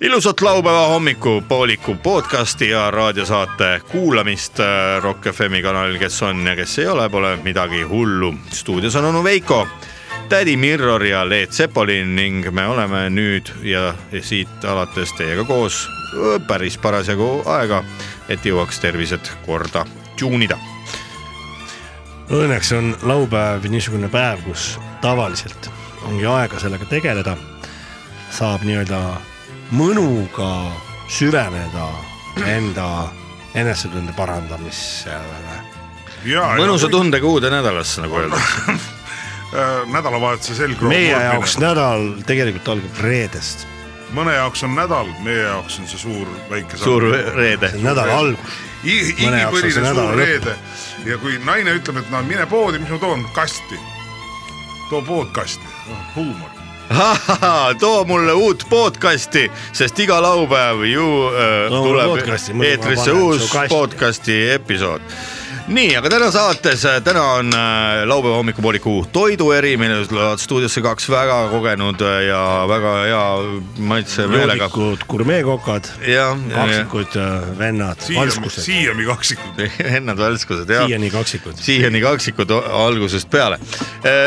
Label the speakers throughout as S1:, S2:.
S1: ilusat laupäeva hommikupooliku podcasti ja raadiosaate kuulamist äh, Rock FM-i kanalil, kes on ja kes ei ole, pole midagi hullu. stuudios on onu Veiko, tädi Mirror ja Leet Sepolin ning me oleme nüüd ja siit alates teiega koos päris parasjagu aega, et jõuaks tervised korda tuunida.
S2: Õnneks on laupäev niisugune päev, kus tavaliselt ongi aega sellega tegeleda. saab nii-öelda mõnuga süveneda enda enesetunde parandamisele .
S3: ja
S1: mõnusa tundega uude nädalasse , nagu öeldakse .
S3: ja Äh, nädalavahetuse selgroog .
S2: meie jaoks . nädal tegelikult algab reedest ,
S3: mõne jaoks on nädal , meie jaoks on see suur väike .
S1: suur reede
S2: see on nädala algus . Mõne jaoks on
S3: igipõline
S2: see nädala
S3: suur
S2: lõpp.
S3: reede ja kui naine ütleb , et no mine poodi , mis ma toon , kasti . too pood kasti , huumor .
S1: Ahahaa, too mulle uut podcasti , sest iga laupäev ju äh,
S2: Too mulle podcasti,
S1: tuleb
S2: muidu ma
S1: eetrisse
S2: panen
S1: uus
S2: su kasti.
S1: podcasti episood . nii , aga täna saates , täna on äh, laupäeva hommikupooliku toidueri , milles tulevad stuudiosse kaks väga kogenud äh, ja väga hea maitsemeelega .
S2: joodikud gurmeekokad ,
S1: jah ,
S2: kaksikud äh, vennad ,
S3: siiami ,
S2: valskused ,
S3: siiami kaksikud .
S1: Hennad Välskused jah .
S2: siiani kaksikud .
S1: siiani kaksikud o- algusest peale .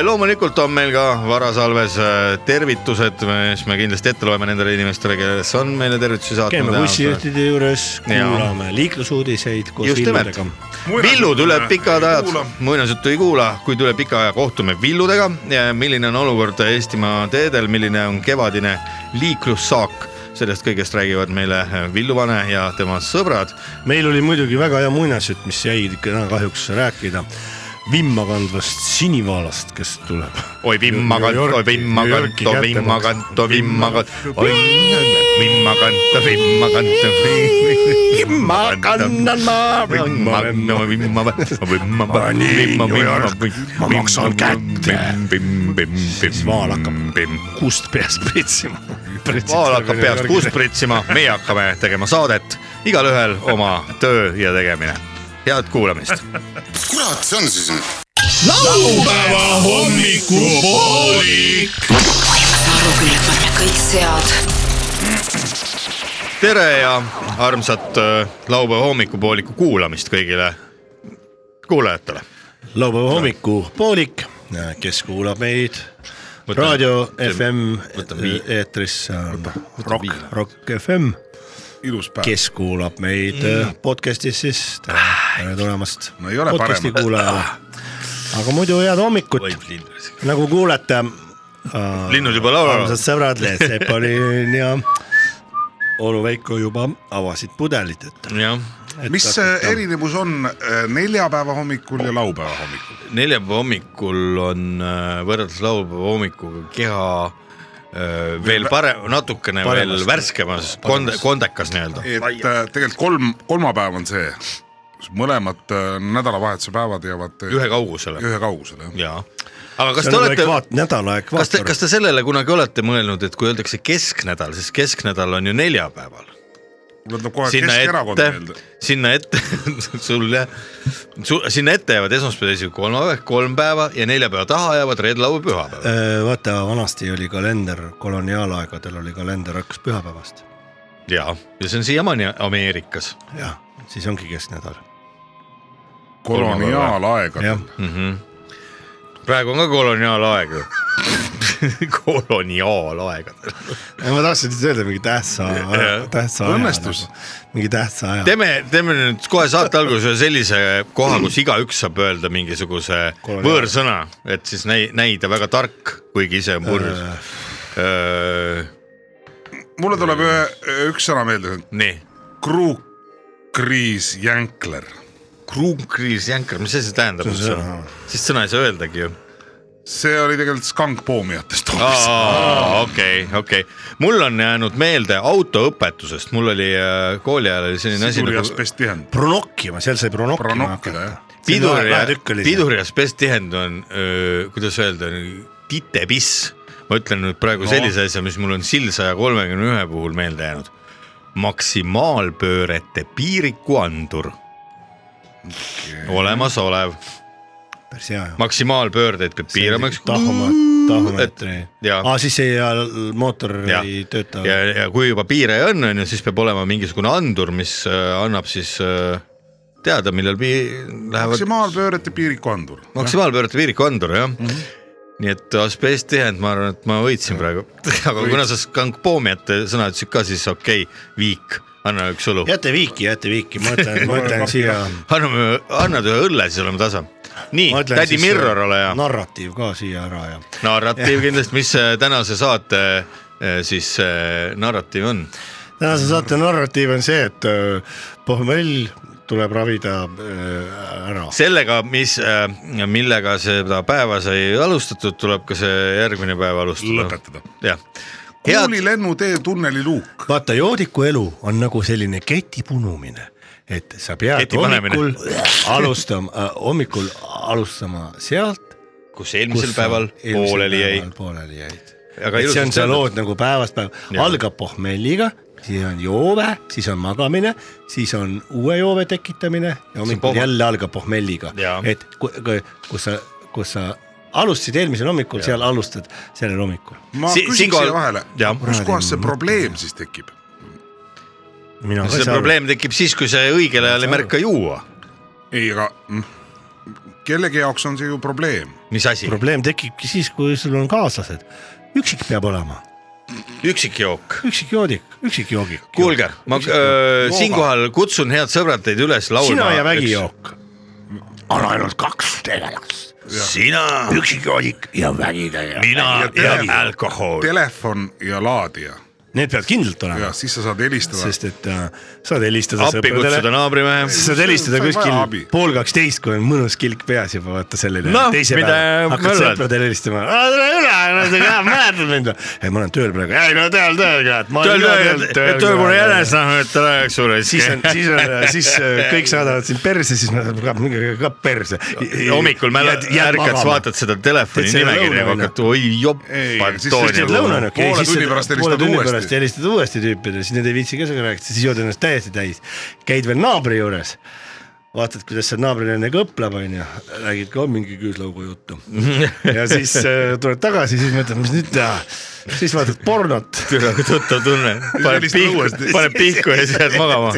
S1: loomulikult on meil ka varasalves eh, tervitused , mis me kindlasti ette loeme nendele inimestele , kes on meile tervitusi
S2: käime
S1: saatnud .
S2: bussijuhtide juures ,
S1: Jaa.
S2: kuulame liiklusuudiseid koos
S1: Just nimelt.
S2: filmidega .
S1: villud üle pikad ajad , muinasjuttu ei kuula , kuid üle pika aja kohtume villudega . milline on olukord Eestimaa teedel , milline on kevadine liiklussaak , sellest kõigest räägivad meile Villu Vane ja tema sõbrad .
S2: meil oli muidugi väga hea muinasjutt , mis jäi täna kahjuks rääkida vimma kandvast sinivaalast , kes tuleb .
S1: oi vimmakant , oi vimmakant , oi vimmakant , oi vimmakant , oi vimmakant , oi vimmakant .
S2: vimma kannan ma , vimma vimma . vaal hakkab kust peast pritsima .
S1: vaal hakkab peast kuus . pritsima , meie hakkame tegema saadet , igalühel oma töö ja tegemine . head kuulamist .
S4: kurat see on siis nüüd ?
S5: Aruküllapõrra kõik sead .
S1: tere ja armsat äh, laupäeva hommikupooliku kuulamist kõigile kuulajatele .
S2: laupäeva hommikupoolik , kes kuulab meid
S1: Võtame-
S2: raadio
S1: teeme-
S2: FM
S1: võtame vii-
S2: eetris on Rock
S1: viina. ,
S2: Rock FM
S3: ilus päev .
S2: kes kuulab meid mm. podcast'is , siis tere, tere tulemast .
S3: No ei ole
S2: podcast'i
S3: paremat.
S2: kuulajale . aga muidu head hommikut , nagu kuulete .
S1: linnud juba laulavad
S2: armsad . sõbrad , Leet Sepolin ja onu Veiko juba avasid pudelid , et .
S1: jah ,
S3: mis äh, see ? erinevus on äh, neljapäeva hommikul ja laupäeva hommikul ?
S1: neljapäeva hommikul on äh, võrreldes laupäeva hommikuga keha äh, veel parem , natukene
S2: Paremas.
S1: veel värskemas , kond- , kondekas nii-öelda .
S3: et äh, tegelikult kolm , kolmapäev on see , kus mõlemad äh, nädalavahetuse päevad jäävad äh,
S1: ühe kaugusele
S3: ühe kaugusele .
S1: ja , aga kas
S2: kas
S1: te
S2: te
S1: olete ,
S2: olete ? nädala
S1: kas te ,
S2: ekvaator .
S1: kas te sellele kunagi olete mõelnud , et kui öeldakse kesknädal , siis kesknädal on ju neljapäeval .
S3: mul tuleb kohe
S1: sinna
S3: Keskerakond
S1: ette
S3: meelde .,
S1: sinna ette , sul jah , sinna ette jäävad esmaspäev , teisipäev , kolmapäev , kolm päeva ja nelja päeva taha jäävad reede , laupäev , pühapäev .
S2: Äh, vaata , vanasti oli kalender , koloniaalaegadel oli kalender hakkas pühapäevast .
S1: ja , ja see on siiamaani Ameerikas
S2: jah , siis ongi kesknädal .
S3: koloniaalaegadel
S2: jah ,
S1: mm . -hmm. praegu on ka koloniaalaeg ju koloniaalaegadel .
S2: Ei, ma tahtsin lihtsalt öelda mingi tähtsa , tähtsa aja .
S3: Õnnestus. .
S2: mingi tähtsa aja .
S1: teeme , teeme nüüd kohe saate alguses ühe sellise koha , kus igaüks saab öelda mingisuguse
S2: Koloniaal.
S1: võõrsõna , et siis näi- , näida väga tark , kuigi ise on Äh, purjus .
S2: Äh.
S3: mulle tuleb ühe , üks sõna meelde ,
S1: nii ,
S3: kruukriis jänkler .
S1: kruunkriis jänker , mis asi see tähendab
S2: See on
S1: üldse
S2: sõna. ?
S1: sest sõna ei saa öeldagi ju .
S3: see oli tegelikult skankpoomijatest hoopis .
S1: okei , okei , mul on jäänud meelde autoõpetusest , mul oli äh, kooli ajal oli selline asi
S3: siduri
S1: nagu
S3: asbestihend .
S2: pronokkima , seal sai pronokkima
S3: Pronokkida,
S2: hakata
S3: jah. .
S1: piduri ,
S2: pidur .
S1: piduri asbestihend on , kuidas öelda , titepiss . ma ütlen nüüd praegu no. sellise asja , mis mul on sild saja kolmekümne ühe puhul meelde jäänud . maksimaalpöörete piirikuandur . olemasolev .
S2: päris hea ju .
S1: maksimaalpöördeid peab piirama , eks .
S2: tahma , tahmameetri .
S1: ja
S2: aa , siis ei , mootor
S1: Jah.
S2: ei tööta .
S1: ja , ja kui juba piire on , on ju , siis peab olema mingisugune andur , mis äh, annab siis äh, teada , millal pii- lähevad
S3: maksimaalpöörete piirikuandur .
S1: maksimaalpöörde piirikuandur jah mm . -hmm nii et asbest tihend , ma arvan , et ma võitsin praegu , aga kuna sa skankpoomiate sõna ütlesid ka , siis okei okay, , viik , anna üks õlu ,
S2: jäta viiki , jäta viiki , ma ütlen , ma ütlen siia .
S1: anname , annad ühe õlle , siis oleme tasa . nii , tädi Mirror , ole hea .
S2: äh, narratiiv ka siia ära ja .
S1: narratiiv kindlasti , mis see tänase saate eh, siis eh, narratiiv on ?
S2: tänase saate narratiiv on see , et öö, pohmell tuleb ravida öö, ära .
S1: sellega , mis , millega seda päeva sai alustatud , tuleb ka see järgmine päev alustada .
S3: lõpetada .
S1: jah , head ,
S3: kuulilennutee tunneli luuk .
S2: vaata joodiku elu on nagu selline keti punumine , et sa pead
S1: Keti panemine.
S2: hommikul alustama , hommikul alustama sealt .
S1: kus eelmisel päeval pooleli jäi ,
S2: pooleli jäid .
S1: Aga
S2: et see on
S1: ilusasti
S2: see
S1: öeldud.
S2: lood nagu päevast päeva ,
S1: Jaa.
S2: algab pohmelliga , siis on joove , siis on magamine , siis on uue joove tekitamine ja hommikul
S1: pohmel-
S2: jälle algab pohmelliga
S1: Jaa. ,
S2: et ku- ku- kus sa , kus sa alustasid eelmisel hommikul , seal alustad sellel hommikul .
S3: ma
S1: Si-
S3: küsin
S1: siinkohal-
S3: siia vahele
S1: jah. ,
S3: kuskohast see probleem siis tekib ?
S2: mina ka ei
S1: see
S2: saa aru ,
S1: probleem tekib siis , kui sa õigel ajal ei märka juua .
S3: ei , aga mm, kellegi jaoks on see ju probleem .
S1: mis asi ,
S2: probleem tekibki siis , kui sul on kaaslased , üksik peab olema
S1: üksikjook .
S2: üksikjoodik , üksikjoogik .
S1: kuulge , ma öö, siinkohal kutsun , head sõbrad , teid üles laulma .
S2: sina ja vägijook . on ainult kaks tegelast ,
S1: sina ,
S2: üksikjoodik ja vägitegelane .
S1: mina ja
S3: tele-
S1: alkohol .
S3: Telefon ja laadija
S2: Need peavad kindlalt olema
S3: ja , siis sa saad helistada .
S2: sest et äh, saad helistada
S1: appi kutsuda
S2: sõpradele ,
S1: naabrimehe .
S2: sa saad helistada
S3: Sa ei vaja abi.
S2: kuskil pool kaksteist , kui on mõnus kilk peas juba vaata selline
S1: Noh,
S2: teise
S1: mida
S2: päeva hakkad
S1: möllad.
S2: sõpradele helistama , tule üle , sa ka mäletad mind või ? ei , ma olen tööl praegu , ei no tööl , tööl ka , et ma
S1: töö ,
S2: olen ka
S1: töö , töö , töö mul järjest ,
S2: ka.
S1: noh , et ära jääks sulle .
S2: siis on , siis on , siis äh, kõik saadavad sind perse , siis ma ka, ka perse .
S1: hommikul mäled- , ärkad , vaatad seda telefoni
S2: Teed selle noh.
S1: nimekirja ,
S2: lõuna,
S1: hakkad , oi jopp
S3: Ei, , siis- siis teed
S1: Antonia .
S2: lõunane , okei ,
S3: Poole
S2: siis
S3: tunni pärast helistad uuesti.
S2: pärast helistad uuesti tüüpidele , siis need ei viitsi ka sinuga rääkida , siis jood ennast täiesti täis . käid veel naabri juures , vaatad , kuidas seal naabrile enne kõplab , onju , räägid ka mingi küüslaugu juttu . ja siis äh, tuled tagasi , siis mõtled , mis nüüd teha , siis vaatad pornot .
S1: nagu tuttav tunne , paneb
S3: helistad
S1: pihku
S3: uuesti. ,
S1: paneb pihku ja siis jääd magama .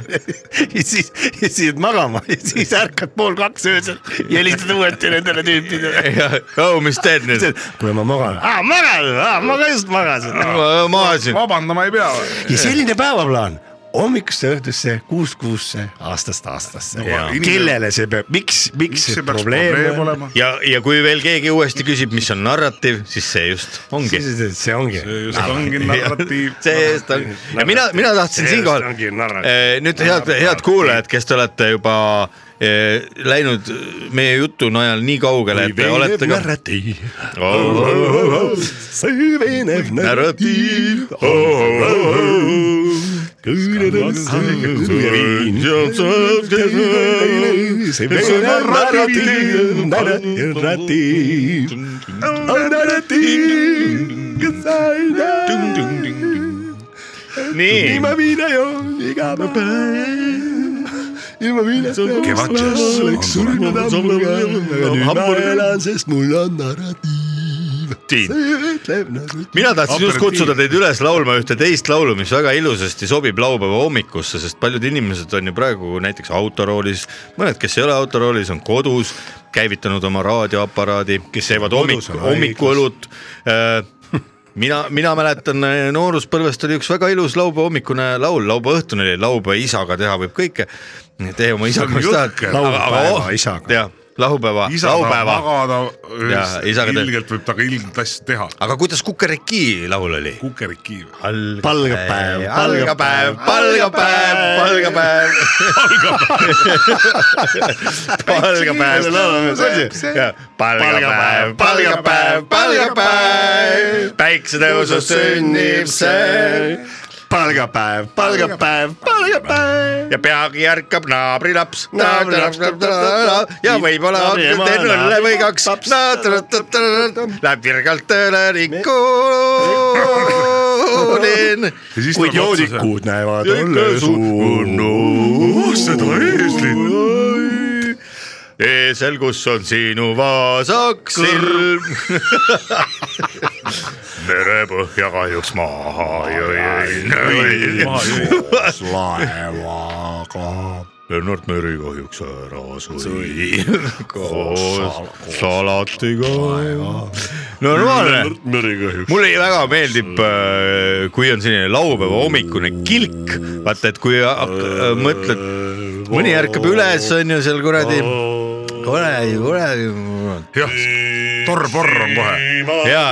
S2: ja siis , ja siis jääd magama ja siis ärkad pool kaks öösel ja helistad uuesti nendele tüüpidele .
S1: ja , oh , mis teed nüüd ?
S2: kuule , ma magan . aa , magan , aa , ma ka just magasin .
S1: ma magasin .
S3: vabandama ei pea .
S2: ja selline päevaplaan hommikust õhtusse , kuust kuusse , aastast aastasse
S1: Jaa.
S2: no, . kellele see peab , miks , miks
S3: miks
S2: see
S3: see peaks probleem
S2: probleem on ?
S3: olema ?
S1: ja , ja kui veel keegi uuesti küsib , mis on narratiiv , siis see just ongi .
S2: see ongi .
S3: just ongi narratiiv .
S1: see just on ja mina , mina tahtsin
S2: See just
S1: siinkohal
S2: ongi narratiiv.
S1: eh, nüüd head , head kuulajad , kes te olete juba eh, läinud meie jutu najal nii kaugele , et te olete ka . Oh,
S2: narratiiv ,
S1: süvenev narratiiv .
S2: süvenev narratiiv , narratiiv , narratiiv .
S1: nii ,
S2: ilma viina joon iga päev . ilma viinata
S3: kevadžäss on
S2: surnud hamburger , aga nüüd ma
S1: Hamburger.
S2: elan , sest mul on narratiiv . see ütleb nagu .
S1: mina tahtsin just
S3: Aperitiiv.
S1: kutsuda teid üles laulma ühte teist laulu , mis väga ilusasti sobib laupäeva hommikusse , sest paljud inimesed on ju praegu näiteks autoroolis , mõned , kes ei ole autoroolis , on kodus , käivitanud oma raadioaparaadi , kes teevad hommik
S2: kodus, , on
S1: hommikuõlut . mina , mina mäletan eh, nooruspõlvest oli üks väga ilus laupäeva hommikune laul , laupäeva õhtune oli , laupäeva isaga teha võib kõike . tee oma isaga , mis tahad .
S3: jõhker.
S2: Laupäeva isaga.
S1: jah , laupäeva ,
S3: isa tahab
S1: laupäeva ,
S3: magada
S1: Jaa, , isaga teeb-
S3: ilgelt võib ta ka ilgelt asju teha .
S1: aga kuidas Kukeriki laul oli ?
S3: kukeriki .
S2: Palgapäev,
S1: palgapäev , palgapäev , palgapäev . palgapäev , palgapäev . palgapäev , palgapäev , palgapäev , päiksetõusust sünnib see
S2: palgapäev , palgapäev , palgapäev .
S1: ja peagi ärkab naabrilaps . ja võib-olla on teen õlle või kaks . Läheb virgalt tööle rikkunin .
S2: kuid joodikud näevad
S1: Ikka
S2: õlle
S1: suur-
S2: suunust .
S3: seda eeslit .
S1: eesel , kus E, on sinu vaasak silm . merepõhja kahjuks maha jõi .
S2: laevaga .
S1: Lennart Meri kahjuks ära suri koos salatiga . normaalne ,
S2: Meri kahjuks .
S1: mulle väga meeldib , kui on selline laupäeva hommikune kilk , vaata , et kui hak- äh, mõtled , mõni ärkab üles , on ju seal kuradi , kuradi , kuradi
S3: jah , torr-porr on kohe .
S1: ja .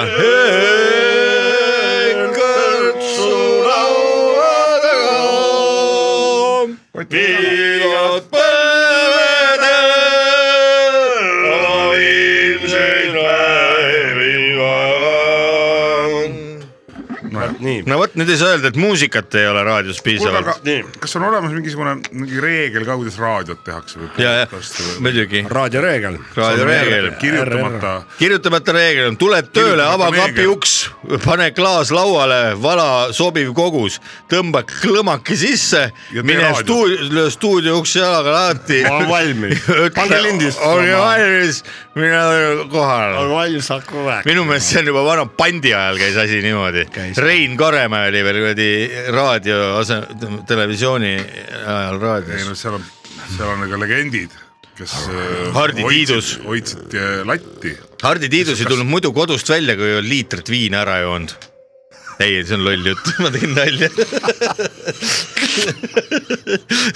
S2: nii ,
S1: no vot , nüüd ei saa öelda , et muusikat ei ole raadios
S3: kuulge ,
S1: piisavalt .
S2: Nii.
S3: aga kas on olemas mingisugune mingi reegel ka , kuidas raadiot tehakse või
S1: ja , ja
S3: podcast'i või ?
S1: muidugi ,
S2: raadioreegel .
S1: raadioreegel .
S3: kirjutamata ,
S1: kirjutamata reegel on , tuleb tööle , ava
S3: Kirjutamata
S1: kapi
S3: reegel.
S1: uks , pane klaas lauale , vala sobiv kogus , tõmba klõmaki sisse
S3: Ja , tee
S1: mine
S3: raadiot.
S1: stuudio , löö stuudio ukse jalaga lahti .
S2: Ma olen valmis. Pange lindistama.
S1: olge valmis , mine kohale .
S2: valmis hakkama rääkima .
S1: minu meelest see on juba vana bandi ajal käis asi niimoodi
S2: Käis. .
S1: Rein Karemäe oli veel kuradi raadio ase- , televisiooni ajal
S3: ei no
S1: raadios .
S3: seal on , seal on ka legendid , kes äh,
S1: Hardi
S3: hoidsid-
S1: Tiidus.
S3: hoidsid äh, latti .
S1: Hardi Tiidus ei tulnud muidu kodust välja , kui ei olnud liitrit viina ära joonud . ei , see on loll jutt , ma tegin nalja .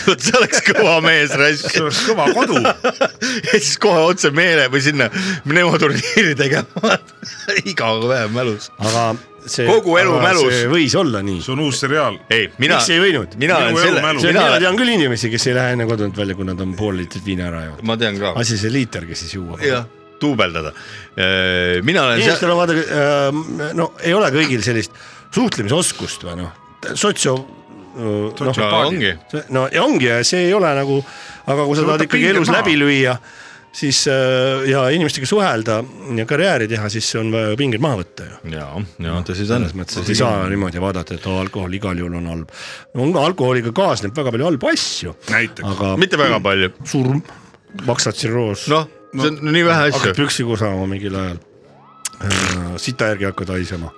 S1: vot see oleks kõva mees raisk
S3: see oleks kõva kodu ,
S1: ja siis kohe otse meele või sinna mnemoturniiri tegema . iga päev mälus .
S2: aga see .
S1: Kogu elu mälus.
S2: võis olla nii .
S3: see on uus seriaal .
S1: ei , mina ,
S2: Miks ei võinud?
S1: mina
S3: Minu
S1: olen
S3: elu
S1: selle ,
S3: mälu.
S2: see on , mina
S1: mina ,
S2: tean küll inimesi , kes ei lähe enne kodunt välja , kui nad on pool liitrit viina ära joonud .
S1: ma tean ka ,
S2: asi see liiter , kes siis juuab .
S1: jah , duubeldada . mina olen seal ,
S2: inimestel on vaadake , no ei ole kõigil sellist suhtlemisoskust või noh , sotsio , noh ,
S1: no ongi ,
S2: no ja ongi , see ei ole nagu , aga kui sa
S3: See
S2: tahad
S3: võtab
S2: ikkagi
S3: pinged
S2: elus
S3: maha.
S2: läbi lüüa , siis äh, ja inimestega suhelda ja karjääri teha , siis on vaja pinged maha võtta ju
S1: ja , ja tõsi ta on
S2: selles . mõttes , et ei saa niimoodi vaadata , et oo, alkohol igal juhul on halb . no alkoholiga kaasneb väga palju halbu asju ,
S3: näiteks ,
S2: aga
S1: mitte väga palju ,
S2: surm , maksatsirroos
S1: noh , see on nii vähe asju
S2: hakkad . püksi kusama mingil ajal . sita järgi hakkad haisema .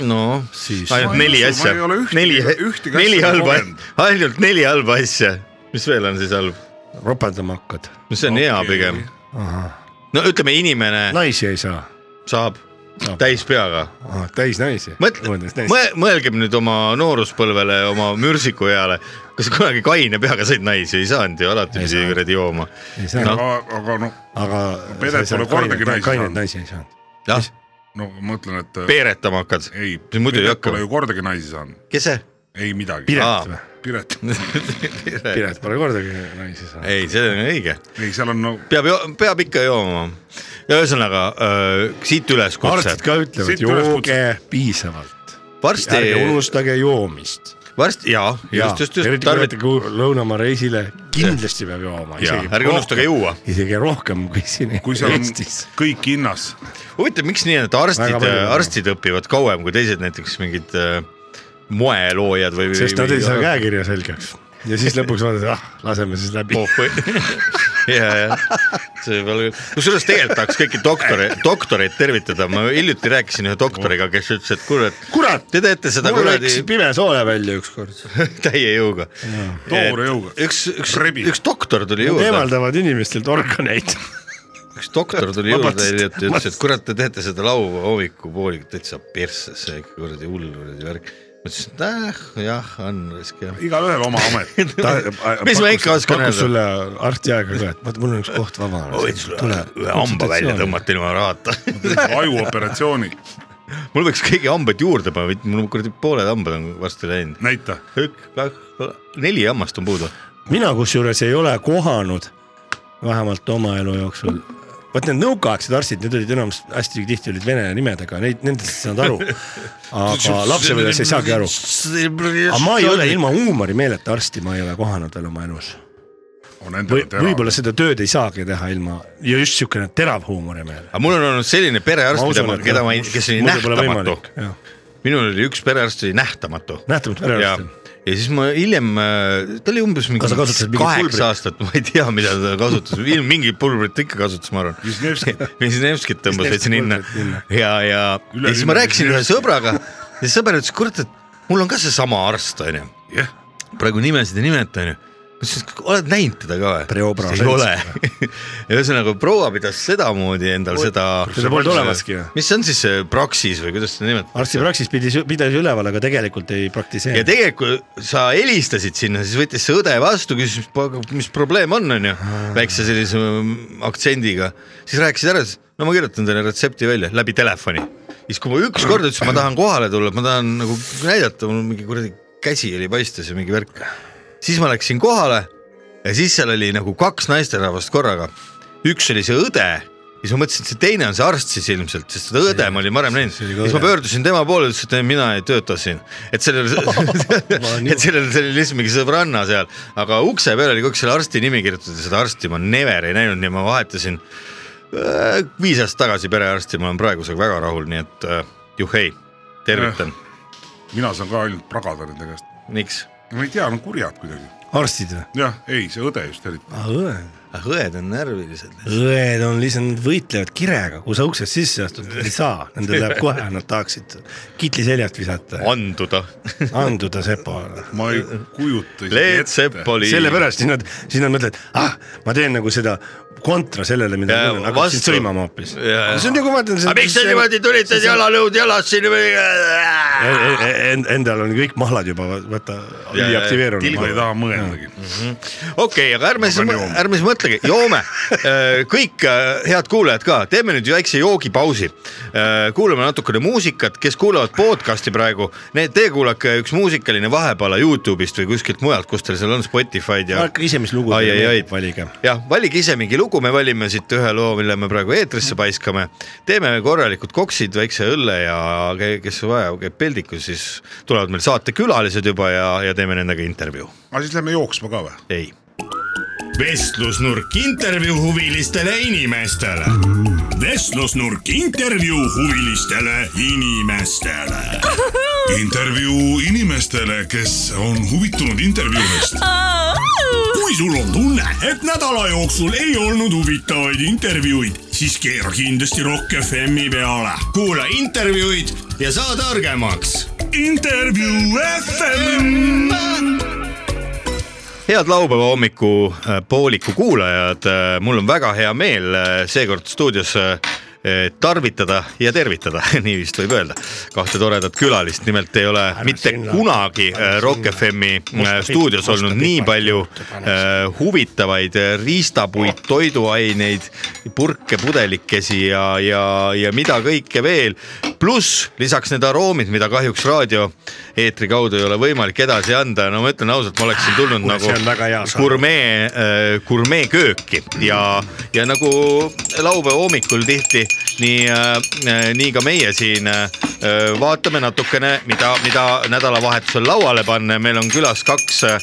S1: no
S2: Siis-
S1: ainult
S3: Ma ei
S1: neli
S3: usu,
S1: asja
S3: ma ei ole , ühtegi-
S1: neli
S3: ühtegi ,
S1: neli
S3: asja
S1: halba
S3: kogenud. ,
S1: ainult neli halba asja , mis veel on siis halb ,
S2: ropendama hakkad ,
S1: no see on okay. hea
S3: Okei.
S1: pigem . no ütleme , inimene no.
S2: naisi ei saa ,
S1: saab no. täis peaga ,
S2: täis naisi .
S1: mõtle , mõelgem nüüd oma nooruspõlvele , oma mürsikueale , kas kunagi kaine peaga said naisi , ei saanud ju alati
S2: Ei
S1: pidi
S2: saanud.
S1: kuradi jooma .
S2: mõtle ,
S3: aga , aga noh ,
S2: aga .
S3: Pedet pole kordagi naisi
S2: kainet
S3: saanud.
S2: naisi ei saanud .
S1: jah ,
S3: no ma mõtlen , et äh,
S1: peeretama hakkad ,
S3: ei ,
S1: Siis muidu ei hakka.
S3: pole ju kordagi naisi saanud ,
S1: kes see ?
S3: ei midagi .
S1: Aa.
S2: Piret või ?
S3: Piret ,
S2: Piret pole kordagi naisi saanud .
S1: ei , see on õige ,
S3: ei seal on no
S1: peab , peab ikka jooma . ühesõnaga äh, siit üleskutse
S2: arstid , ka ütlevad ,
S3: Siit
S2: et
S3: üleskutse.
S2: jooge piisavalt ,
S1: varsti
S2: ärge unustage joomist .
S1: varsti ja just , just , just
S2: eriti kui lähete ku- lõunamaa reisile , kindlasti peab jooma .
S1: ja ärge unustage . juua .
S2: isegi rohkem kui siin
S3: kui seal on
S2: Eestis .
S3: kõik hinnas ,
S1: huvitav , miks nii on , et
S2: Väga
S1: arstid
S2: palju, , jah.
S1: arstid õpivad kauem kui teised näiteks mingid äh, moeloojad või .
S2: sest nad ei saa . käekirja selgeks ja siis lõpuks vaatad , ah , laseme siis läbi .
S1: Oh, ja , ja see võib olla küll , kusjuures tegelikult tahaks kõiki doktore , doktoreid tervitada , ma hiljuti rääkisin ühe doktoriga , kes ütles , et kuule , et
S2: kurat ,
S1: te teete seda
S2: mul läks
S1: kuradi
S2: pime soole välja ükskord .
S1: täie jõuga .
S3: toore jõuga .
S1: üks , üks ,
S3: Rebi.
S1: üks doktor tuli juurde ,
S2: eemaldavad inimestelt organeid .
S1: üks doktor tuli
S2: Ma
S1: juurde
S2: mõtlesin-
S1: hiljuti , ütles , et kurat , te teete seda laupäeva hommikupoolikut täitsa persse , see ikka kuradi hull kuradi värk . ma ütlesin , et äh, jah , on risk jah .
S3: igalühel oma amet ,
S1: mis ma ikka oskan öelda ?
S2: pakkus sulle arsti aega ka , et vaata , mul on üks koht vaba .
S1: ühe hamba välja . tõmmata ilma rahata .
S3: ajuoperatsioonid ,
S1: mul võiks kõigi hambaid juurde panna , mul kuradi pooled hambad on varsti läinud .
S3: näita ,
S1: üks , kaks , neli hammast on puudu .
S2: mina kusjuures ei ole kohanud vähemalt oma elu jooksul , vot need nõukaaegsed arstid , need olid enamus hästi tihti olid vene nimedega , neid , nendest ei saanud aru . aga lapsepõlves ei saagi aru . aga ma ei ole ilma huumorimeeleta arsti , ma ei ole kohanud veel oma elus .
S3: on endal
S2: või võib-olla . seda tööd ei saagi teha ilma ja just siukene terav huumorimeel .
S1: aga mul on olnud selline perearst , mida ma ,
S2: noh,
S1: keda ma ei , kes oli nähtamatu ..
S2: jah ,
S1: minul oli üks perearst oli nähtamatu .
S2: nähtamatu
S1: ja
S2: perearst .
S1: ja siis ma hiljem , ta oli umbes mingi
S2: Kas sa kasutasid mingit pulbrit?
S1: kaheksa aastat , ma ei tea , mida ta kasutas , mingit pulbrit ta ikka kasutas , ma arvan .
S3: Wisniewski.
S1: Wisniewskit tõmbas veits ninna
S2: Wisniewski pulbrit
S1: ja , ja , ja siis ma
S3: Üle-
S1: rääkisin ühe sõbraga ja sõber ütles , kurat , et mul on ka seesama arst , onju ,
S3: jah ,
S1: praegu nimesid ei nimeta , onju . ma ütlesin , et oled näinud teda ka
S2: Preobra
S1: või ? ei ole . ühesõnaga proua pidas sedamoodi endal seda ,
S2: seda polnud olemaski ju .
S1: mis see on siis see praksis või kuidas seda nimetatakse ?
S2: arstipraksis pidi , pidas üleval , aga tegelikult ei praktiseeri
S1: ja . tegelikult sa helistasid sinna , siis võttis see õde vastu , küsis , mis probleem on , onju , väikse sellise mm, aktsendiga , siis rääkisid ära , ütles , no ma kirjutan teile retsepti välja läbi telefoni . siis kui ma ükskord ütlesin , ma tahan kohale tulla , ma tahan nagu näidata , mul mingi kuradi käsi oli paistes ja mingi värk , siis ma läksin kohale ja siis seal oli nagu kaks naisterahvast korraga , üks oli see õde ja siis ma mõtlesin , et see teine on see arst siis ilmselt , sest seda õde ma olin varem näinud ,
S2: see
S1: siis
S2: oli ka
S1: ma
S2: õde.
S1: pöördusin pöördusin tema poole , ütles , et ei, mina ei tööta siin , et sellel
S2: on ,
S1: et sellel , see oli lihtsalt mingi sõbranna seal , aga ukse peal oli kogu aeg selle arsti nimi kirjutatud ja seda arsti ma never ei näinud , nii ma vahetasin äh, viis aastat tagasi perearsti , ma olen praegusega väga rahul , nii et äh, juhhei , tervitan ,
S3: mina saan ka ainult pragada nende käest .
S1: miks ?
S3: ma ei tea , nad on kurjad kuidagi .
S2: arstid noh. või ?
S3: jah , ei , see õde just eriti .
S2: õed ,
S1: Ah, õed on närvilised .
S2: õed on lihtsalt , nad võitlevad kirega , kui sa uksest sisse astud , ei saa , nendel läheb kohe , nad tahaksid kitli seljast visata ,
S1: anduda .
S2: anduda sepale .
S3: ma ei kujuta
S1: Leet Sepp . oli .
S2: sellepärast siis nad , siis nad mõtlevad , ah , ma teen nagu seda kontra sellele , mida
S1: Jaa,
S2: ma teen , hakkasin
S1: vastu.
S2: sõimama hoopis .
S1: Jaa, jaa.
S2: see on nagu vaata .
S1: aga miks te niimoodi tulite , jalalõud jalas siin või ?
S2: e- Endal on kõik mahlad juba ,
S1: Jaa,
S2: vaata ,
S1: jaa,
S3: ma ei
S2: üliaktiveerunud .
S3: taha mõeldagi .
S1: okei okay, , aga ärme siis
S3: Aga , joome.
S1: ärme siis mõtlegi , joome . kõik äh, head kuulajad ka , teeme nüüd väikse joogipausi . kuulame natukene muusikat , kes kuulavad podcast'i praegu , need , teie kuulake üks muusikaline vahepala Youtube'ist või kuskilt mujalt , kus teil seal on Spotify'd ja .
S2: hakake ise , mis lugu
S1: Ai, ai,
S2: teile
S1: ai.
S2: meeldib , valige .
S1: jah , valige ise mingi lugu , me valime siit ühe loo , mille me praegu eetrisse paiskame . teeme korralikud koksid , väikse õlle ja ke- kes vaja , käib peldikus , siis tulevad meil saatekülalised juba ja , ja teeme nendega intervjuu .
S3: aga siis lähme jooksma ka või ?
S1: ei
S6: vestlusnurk intervjuu huvilistele inimestele . vestlusnurk intervjuu huvilistele inimestele .
S7: intervjuu inimestele , kes on huvitunud intervjuudest .
S6: kui sul on tunne , et nädala jooksul ei olnud huvitavaid intervjuuid , siis keera kindlasti Rock FM-i peale . kuula intervjuud ja saa targemaks . intervjuu FM .
S1: head laupäeva hommiku äh, pooliku kuulajad , mul on väga hea meel äh, seekord stuudios äh, tarvitada ja tervitada , nii vist võib öelda , kahte toredat külalist , nimelt ei ole mitte
S2: sinna.
S1: kunagi äh,
S2: Ära
S1: Rock
S2: sinna.
S1: FM-i äh,
S2: Musta
S1: stuudios
S2: pipa-
S1: olnud
S2: musta
S1: nii
S2: pipa-
S1: palju
S2: pane
S1: äh, huvitavaid äh, riistapuid , toiduaineid , purke , pudelikesi ja , ja , ja mida kõike veel . pluss lisaks need aroomid , mida kahjuks raadioeetri kaudu ei ole võimalik edasi anda , no ma ütlen ausalt , ma oleksin tulnud
S2: Ah, Kuule, see on väga hea
S1: nagu
S2: saade.
S1: gurmee , gurmeekööki äh, ja , ja nagu laupäeva hommikul tihti , nii , nii ka meie siin äh, vaatame natukene , mida , mida nädalavahetusel lauale panna ja meil on külas kaks äh,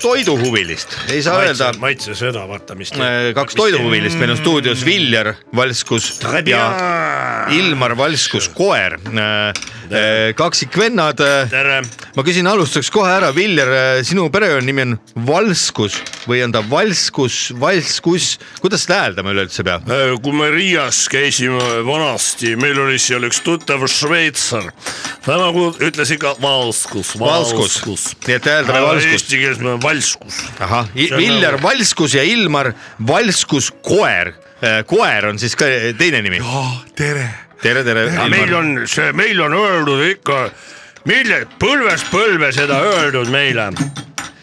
S1: toiduhuvilist , ei saa öelda ,
S2: maitse seda , vaata , mis .
S1: Äh, kaks toiduhuvilist , meil on stuudios Viljar Valskus ja Ilmar Valskus Koer , Äh, kaksikvennad
S2: tere .
S1: äh, ma küsin alustuseks kohe ära , Viljar , sinu perekonnanimi on Valskus või on ta Valskus , Valskus , kuidas seda hääldama üleüldse peab ?
S8: Äh, kui me Riias käisime vanasti , meil oli seal üks tuttav šveitsar , ta nagu ütles ikka valskus ,
S1: Valskus.
S8: valskus .
S1: Nii et hääldame valskust.
S8: Eesti keeles me valskus .
S1: ahah ,
S8: See on
S1: Viljar
S8: nagu-
S1: Valskus ja Ilmar Valskus Koer . koer on siis ka teine nimi .
S8: tere .
S1: tere , tere .
S8: meil on see , meil on öeldud ikka , mille , põlvest põlve seda öeldud meile ,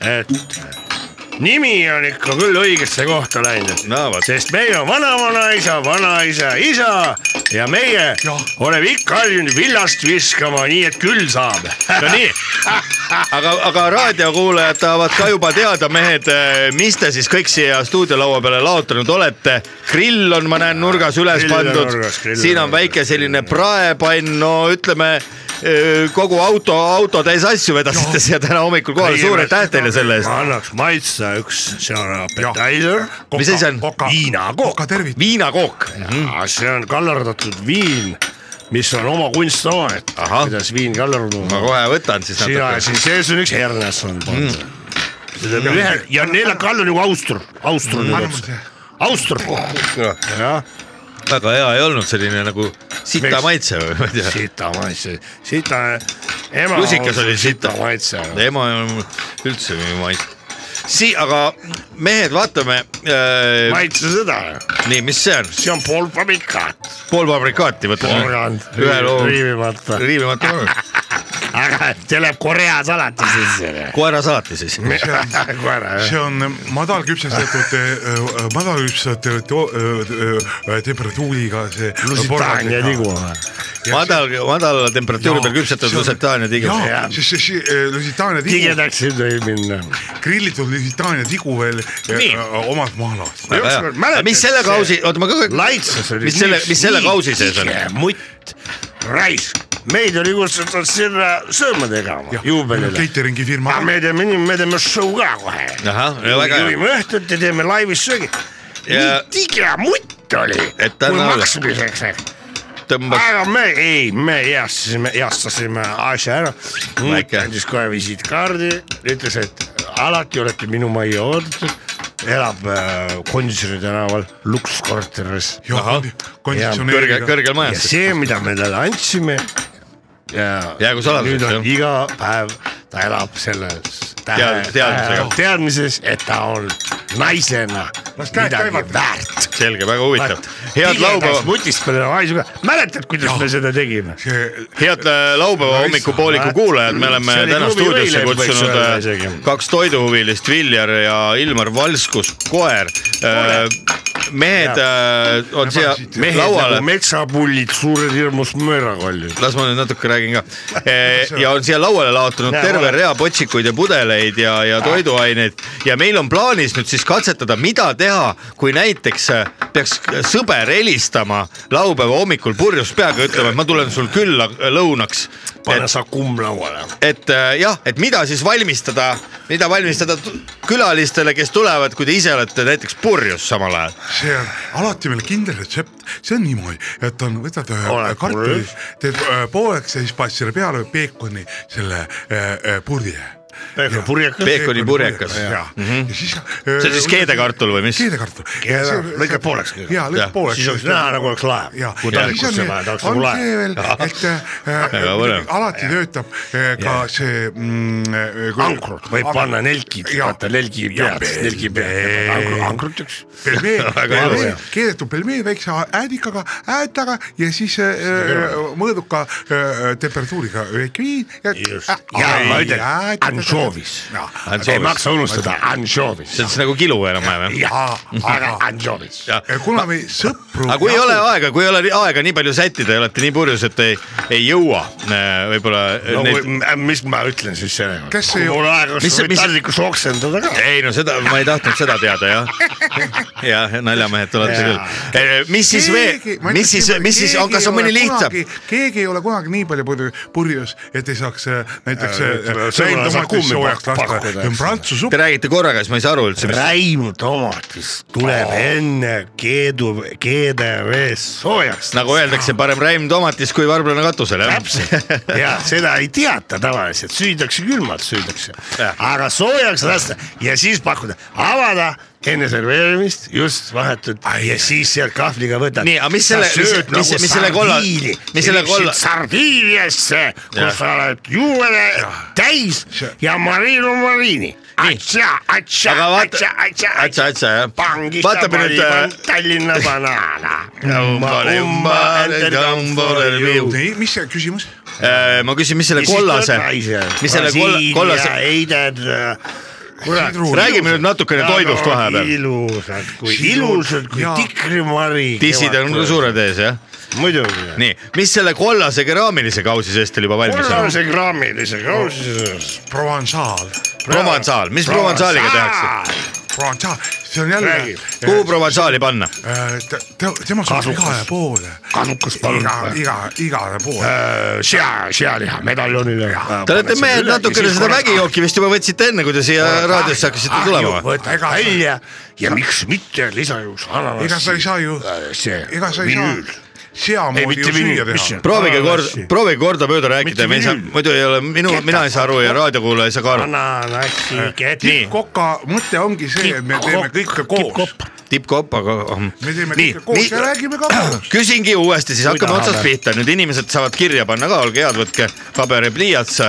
S8: et nimi on ikka küll õigesse kohta läinud
S1: no vot ,
S8: sest meil on vanavanaisa , vanaisa , isa ja meie oleme ikka harjunud villast viskama , nii et küll saab .
S1: no nii , aga , aga raadiokuulajad tahavad ka juba teada , mehed , mis te siis kõik siia stuudiolaua peale laotanud olete . grill on , ma näen , nurgas üles
S8: Grill on
S1: pandud
S8: nurgas, , grill on
S1: siin on
S8: nurgas.
S1: väike selline praepann , no ütleme öö, kogu auto , auto täis asju vedasite
S8: Noh,
S1: siia täna hommikul kohale , suur aitäh teile selle
S8: ma
S1: eest .
S8: annaks maitsta üks , see on appetizer ,
S1: mis asi see on ?
S8: viinakook , Mhm. Ah,
S1: viinakook ,
S8: see on kallardatud viin
S2: mis on oma kunstaaed ,
S1: Ahah.
S2: kuidas viin kallarunu .
S1: ma kohe võtan siis
S2: sina
S1: natuke .
S2: siin sees on üks hernes on pandud mm. . ühe ja neljal kall on nagu austur , austur on
S9: anna
S2: mm.
S9: mulle see .
S2: austur , jah ,
S1: väga hea ei olnud selline nagu sita
S2: Miks?
S1: maitse või ma ei tea .
S2: sita maitse , sita , ema .
S1: lusikas oli sita
S2: maitse .
S1: ema ei olnud üldse nii maitse . sii- , aga mehed , vaatame äh, .
S2: maitse seda ,
S1: nii , mis see on ?
S2: see on pool paprikat ,
S1: pool paprikaati võtame
S2: porgand ,
S1: ühe loo .
S2: riivimata ,
S1: riivimata loo .
S2: aga see läheb Korea salati sisse .
S1: koera saati siis . Ah.
S2: koera jah .
S9: see on äh, madalküpsetatud , äh, madalküpsetatud öö, äh, temperatuuriga see . äh,
S2: Lusitaania tigu .
S1: madal , madala temperatuuri peal küpsetatud lusetaania tigu .
S9: jaa , siis see- see Lusitaania tigu ,
S2: tigedaks ei tohi minna .
S9: grillitud Lusitaania tigu veel
S1: Nii.
S9: äh, omast mahlast .
S2: ükskord mäletad,
S1: mis selle
S2: see-
S1: kausi , oota ma kõigepealt .
S2: laitses oli .
S1: mis selle , mis selle kausi sees on ??
S2: mutt , raisk , meid oli kutsutud sinna sööma tegema , juubelile .
S9: catering'i firma
S2: aga . me teeme nii , me teeme show ka kohe .
S1: ahah , väga hea .
S2: juhime õhtut ja teeme laivis söögi .
S1: Ja-
S2: nii tige mutt oli ,
S1: Et ta
S2: kui
S1: on-
S2: maksmiseks läks .
S1: tõmbas
S2: aga me , ei , me heastasime , heastasime asja ära . mutt
S1: Väike.
S2: andis kohe visiitkaardi , ütles , et alati olete minu majja oodatud , elab äh, Gonsiori tänaval Lux korteris
S1: kõrge , kõrgel
S2: ja
S1: majas .
S2: see , mida me talle andsime .
S1: Jäägu saladuseks,
S2: nüüd on
S1: jah.
S2: iga päev ta elab selles tähe-
S1: Tead- teadmisega.
S2: tähe- teadmises , et ta on naisena
S9: Las käed
S2: midagi
S9: käivad.
S2: väärt .
S1: selge , väga huvitav . head laupäeva ,
S2: mutist peale haisu ka , mäletad , kuidas me seda tegime ?
S1: head äh, laupäeva hommikupooliku kuulajad , me oleme
S2: See oli
S1: täna
S2: klubi
S1: stuudiosse
S2: võileib, võiks
S1: kutsunud
S2: öelda
S1: äh,
S2: isegi.
S1: kaks toiduhuvilist , Viljar ja Ilmar Valskus , koer . mehed äh, on siia
S2: mehed
S1: lauale
S2: nagu . metsapullid , suured hirmus möörakollid .
S1: las ma nüüd natuke räägin ka . ja on siia lauale laotunud
S2: Näe,
S1: terve
S2: ole.
S1: rea potsikuid ja pudeleid ja , ja toiduaineid ja meil on plaanis nüüd siis katsetada , mida teha , kui näiteks äh, peaks sõber helistama laupäeva hommikul purjus peaga , ütlema , et ma tulen sul külla äh, lõunaks .
S2: pane sa kumm lauale .
S1: et äh, jah , et mida siis valmistada , mida valmistada tu- külalistele , kes tulevad , kui te ise olete näiteks purjus samal ajal .
S9: see on alati meil kindel retsept , see on niimoodi , et on , võtad ühe
S2: Oled
S9: kartuli
S2: kurb. ,
S9: teed äh, pooleks ja siis paned selle peale peekoni selle äh, äh, purje .
S2: purjekas .
S1: Peekoni purjekas.
S9: ja , ja siis .
S1: Mhm.
S9: äh,
S1: See on siis keedekartul või mis?
S9: keedekartul .
S2: lõikad pooleks kõigepealt.
S9: ja
S1: Jah.
S9: lõikad pooleks .
S2: siis oleks näha , nagu oleks laev .
S9: ja ,
S2: kui
S9: ja siis on
S2: talikusse
S9: see ,
S2: vaja , ta oleks nagu
S9: on
S2: laev
S9: see . veel , et
S1: Väga põnev.
S9: äh, alati töötab äh, ka see mm, .
S2: ankrut võib panna nelkid ,
S9: ja
S2: vaata nelgi pead , nelgi pead , ankrut üks .
S9: pelmeen
S2: Väga hea. ,
S9: keedetud pelmeen väikse äädikaga , äätaga ja siis äh, äh, mõõduka äh, temperatuuriga Äh, väike viin .
S2: Just. ja ma ütlen , anšoovis . ei maksa unustada , anšoovis
S1: see . on siis nagu kilu enam-vähem jah ?
S2: jaa , aga anšoovis .
S9: Äh, kuna me sõpru .
S1: aga kui ei ole aega , kui ei ole aega nii palju sättida ja olete nii purjus , et ei , ei jõua äh, võib-olla
S2: no
S1: no, neid...
S2: või- m- mis ma ütlen siis selle kohta ?
S9: Kes see-
S2: mul aega ,
S1: Mis
S2: kas
S1: see-
S2: sa võid
S1: mis-
S2: tallikus oksendada ka ?
S1: ei no seda , ma ei tahtnud seda teada jah . jah , naljamehed te olete
S2: Jaa.
S1: küll . mis siis veel , mis siis , mis siis , kas on mõni lihtsam ?
S9: keegi ei ole kunagi nii palju purju- purjus , et ei saaks äh, näiteks
S2: Äh,
S9: äh,
S2: sõbrale
S9: läinud
S2: saab
S9: tomatist
S2: kummi
S9: soojaks
S2: pak-
S9: lasta ,
S2: pakkuda,
S9: see on
S2: eks.
S9: prantsuse supp
S1: Te räägite korraga , siis ma ei saa aru üldse , mis .
S2: räim tomatis tuleb enne keedu , keedevees soojaks .
S1: nagu öeldakse , parem räim tomatis kui varblane katusel jah ?
S2: täpselt ja seda ei teata tavaliselt , süüdakse külmalt süüdakse
S1: Jah. ,
S2: aga soojaks lasta ja siis pakkuda , avada enne serveerimist just vahetult ja siis sealt kahvliga võtad . nagu
S1: Nii, aga mis selle- mis- mis- mis selle kolla- mis
S2: mis
S1: selle
S2: selle
S1: kolla-
S2: kolla . sardiiniasse ,
S1: Jah.
S2: kus sa oled juubele täis ja Marino Marini . atsa , atsa ,
S1: aga vaata
S2: atsa ,, atsa ,
S1: atsa , atsa jah .
S2: pangi
S1: vaatame nüüd äh,
S2: nüüd Tallinna banaana
S1: Umbale, umbale, tambole, viu.
S9: nii , mis see küsimus ?
S1: äh, ma küsin , mis selle kollase , mis selle kolla , kollase ,
S2: heided , kurat .
S1: räägime nüüd natukene toidust vahepeal .
S2: ilusad , kui
S9: Sidrun-
S2: ilusad , kui
S9: jaa.
S2: tikrimari .
S1: tissid on suured ees jah ?
S2: muidugi .
S1: nii , mis selle kollase keraamilise kausi seest teil juba valmis on ?
S2: kollase kraamilise kausisõõrs .
S9: Provençal ,
S1: provansaal , mis provansaaliga tehakse ??
S9: Provençal , see on jälle äh,
S2: Räägi. .
S1: kuhu provansaali panna ?
S9: temas on
S2: Kasukas.
S9: igale poole ,
S2: kasukas palun . Äh,
S9: iga , iga , igale poole .
S2: sea , sealiha medaljonile . Äh,
S1: Te olete mehed natukene seda vägijooki vist juba võtsite enne , kui te siia raadiosse hakkasite
S2: Ah,
S1: tulema või ?
S2: võta ega välja ja miks mitte lisajuus
S9: ega sa ei
S2: ananassi .
S9: saa ju ,
S2: äh, see
S9: ega sa ei saa
S2: vinüül ,,
S9: seamoodi ju süüa teha .
S1: proovige kord , proovige kordamööda rääkida
S2: Mitte , vinüül.
S1: muidu ei ole minu , mina ei saa aru ja raadiokuulaja ei saa ka aru .
S2: ananassi
S1: Äh, nii.
S2: ketk .
S9: koka mõte ongi see , et me teeme kõike koos .
S1: tippkopp , aga .
S9: me teeme kõike koos ja räägime ka koos .
S1: küsingi uuesti , siis hakkame
S2: tahame.
S1: otsast pihta , nüüd inimesed saavad kirja panna ka , olge head , võtke paber ja pliiats .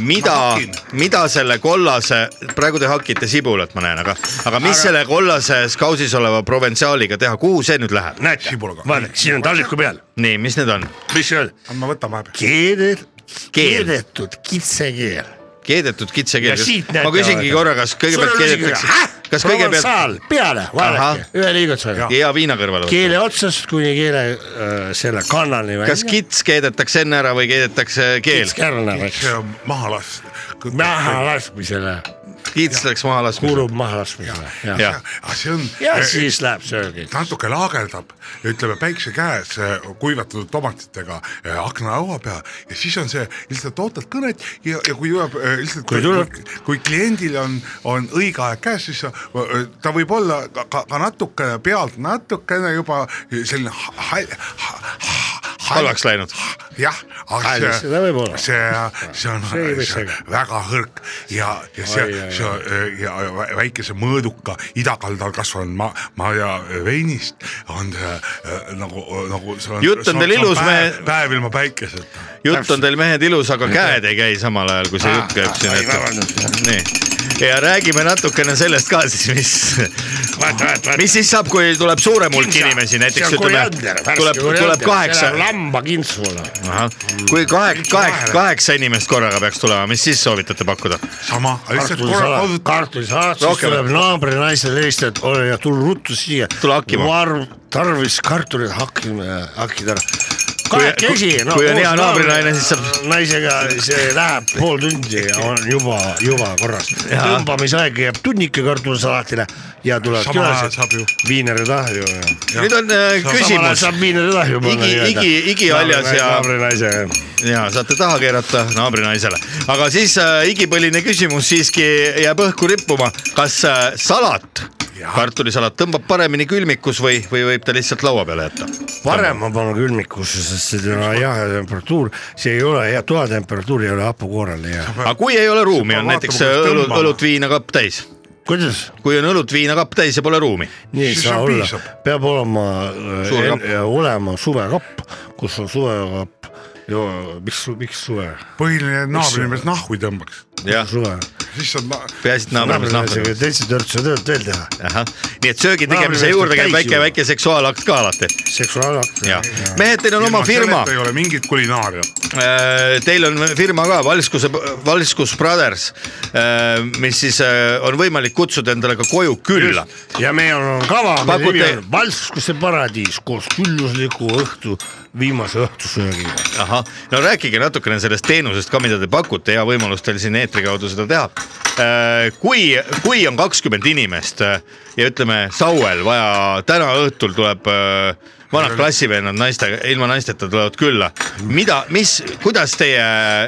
S1: mida
S9: Ma hakin. ,
S1: mida selle kollase , praegu te hakite sibulat , ma näen , aga , aga mis selle kollase skausis oleva proventsiaaliga teha , kuhu see nüüd läheb ?
S2: näete
S9: Sibulaga. ,
S2: vaadake , siin on talliku peal ,
S1: nii , mis need on ?
S2: mis see on ?
S9: ma võtan vahepeal .
S2: keedet- ,
S1: Keel.
S2: keedetud kitsekeel .
S1: keedetud kitsekeel
S2: Ja . siit näete,
S1: ma küsingi
S2: vaadake.
S1: korra , kas kõigepealt keedetakse , kas kõigepealt
S2: provensaal peale ,
S1: Ahah.
S2: vaadake , ühe liigutusega .
S1: ja viina kõrvale võtta ?
S2: keele otsast kuni keele äh, selle kannani välja .
S1: kas kits keedetakse enne ära või keedetakse keel ?
S2: kärna või ?
S9: see on maha lastud .
S2: mahalaskmisele ,
S1: kits läks maha laskma .
S2: kuulub mahalaskmisele , jah .
S1: jah ,
S9: see on .
S2: ja siis läheb söögi .
S9: natuke laagerdab , ütleme päikse käes eh, kuivatatud tomatitega eh, aknalaua peal ja siis on see lihtsalt ootad kõnet ja , ja kui jõuab eh, lihtsalt ,
S2: Kui
S9: kui,
S2: tuleb-
S9: kui, kui kliendil on , on õige aeg käes , siis sa- eh, ta võib olla ka, ka, ka natuke pealt natukene juba selline ha- hal- ha- ha-
S1: halvaks läinud .
S9: jah , aga
S2: Hall,
S9: see ,
S2: seda võib olla.
S9: see , see on ,
S2: See ei või
S9: see on
S2: segada.
S9: väga hõrk ja , ja see
S2: Oi, oi, ,
S9: see on eh, ja vä- väikese mõõduka idakaldal kasvanud ma- , maja veinist on see eh, nagu , nagu see on .
S1: Jutt on teil ilus, mehe-
S9: päev ilma päikeseta .
S1: jutt on teil mehed ilus , aga käed ei käi samal ajal , kui see jutt käib siin , et nii . ja räägime natukene sellest ka siis , mis ,
S2: vaata , vaata , vaata .
S1: mis siis saab , kui tuleb suurem hulk inimesi , näiteks ütleme , tuleb , tuleb kaheksa ,
S2: lambakintsule .
S1: kui kaheksa , kaheksa , kaheksa inimest korraga peaks tulema , mis siis soovitate pakkuda ?
S9: sama , lihtsalt korra
S2: kartulisalat ,
S9: kasutada .
S2: kartulisalat , siis
S1: Rohkem.
S2: tuleb naabrinaisele helistada , et ole hea , tule ruttu siia .
S1: Tule hakkima.
S2: varm , tarvis kartulit hakkima , hakkida ära .
S1: Kui-
S2: kahekesi
S1: kui- kui on hea naabrinaine, siis
S2: saab . naisega see läheb pool tundi ja on juba , juba korras . tõmbamisaeg jääb tunnike kartulisalatile ja tulevad
S9: Sama ajal saab ju.
S2: külased . viineritahju .
S1: nüüd on äh, küsimus
S2: saab viineritahju panna .
S1: Igi- igi- igihaljas ja-
S2: naabrinaisega .
S1: ja saate taha keerata naabrinaisele , aga siis äh, igipõline küsimus siiski jääb õhku rippuma , kas äh, salat , kartulisalat tõmbab paremini külmikus või , või võib ta lihtsalt laua peale jätta ?
S2: parem ma panen külmikusse , sest see on jahe temperatuur , see ei ole hea , toatemperatuur ei ole hapukoorel ja
S1: aga kui ei ole ruumi , on
S9: Vaatame,
S1: näiteks
S9: kuidas
S1: äh, õlut ,
S9: tõmbama.
S1: õlut-viinakapp täis ,
S2: kuidas
S1: kui on õlut-viinakapp täis ja pole ruumi ,
S2: nii ei
S9: Siis
S2: saa
S9: on
S2: olla
S9: piisab. ,
S2: peab olema äh,
S1: Suur ,
S2: olema suvekapp , kus on suvekapp , miks , miks suve ,
S3: Ah,
S9: põhiline , et naabrimees nahku ei tõmbaks .
S1: jah ,
S2: suve .
S9: siis saad na-
S1: peaasi , et naabrimees nahku .
S2: teised üritused võivad veel teha ,
S1: ahah , nii et söögi tegemise
S2: Naabrimees
S1: juurde
S2: peab
S1: käib
S2: täis
S1: väike ,
S2: juua.
S1: väike seksuaalakt ka alati ,
S2: seksuaalakt .
S1: jah . mehed , teil on
S9: ilma
S1: oma firma
S9: selleta ei ole mingit kulinaariat .
S1: Äh, Teil on firma ka Valskuse , Valskus Brothers , mis siis äh, on võimalik kutsuda endale ka koju külla .
S2: ja meil on kava , mille
S1: Pakute-
S2: nimi on Valskuse paradiis koos küllusliku õhtu viimase õhtusöögiga .
S1: ahah , no rääkige natukene sellest teenusest ka , mida te pakute , hea võimalus teil siin eetri kaudu seda teha . kui , kui on kakskümmend inimest äh, ja ütleme , Sauel vaja , täna õhtul tuleb äh, vanad klassivennad naiste , ilma naisteta tulevad külla . mida , mis , kuidas teie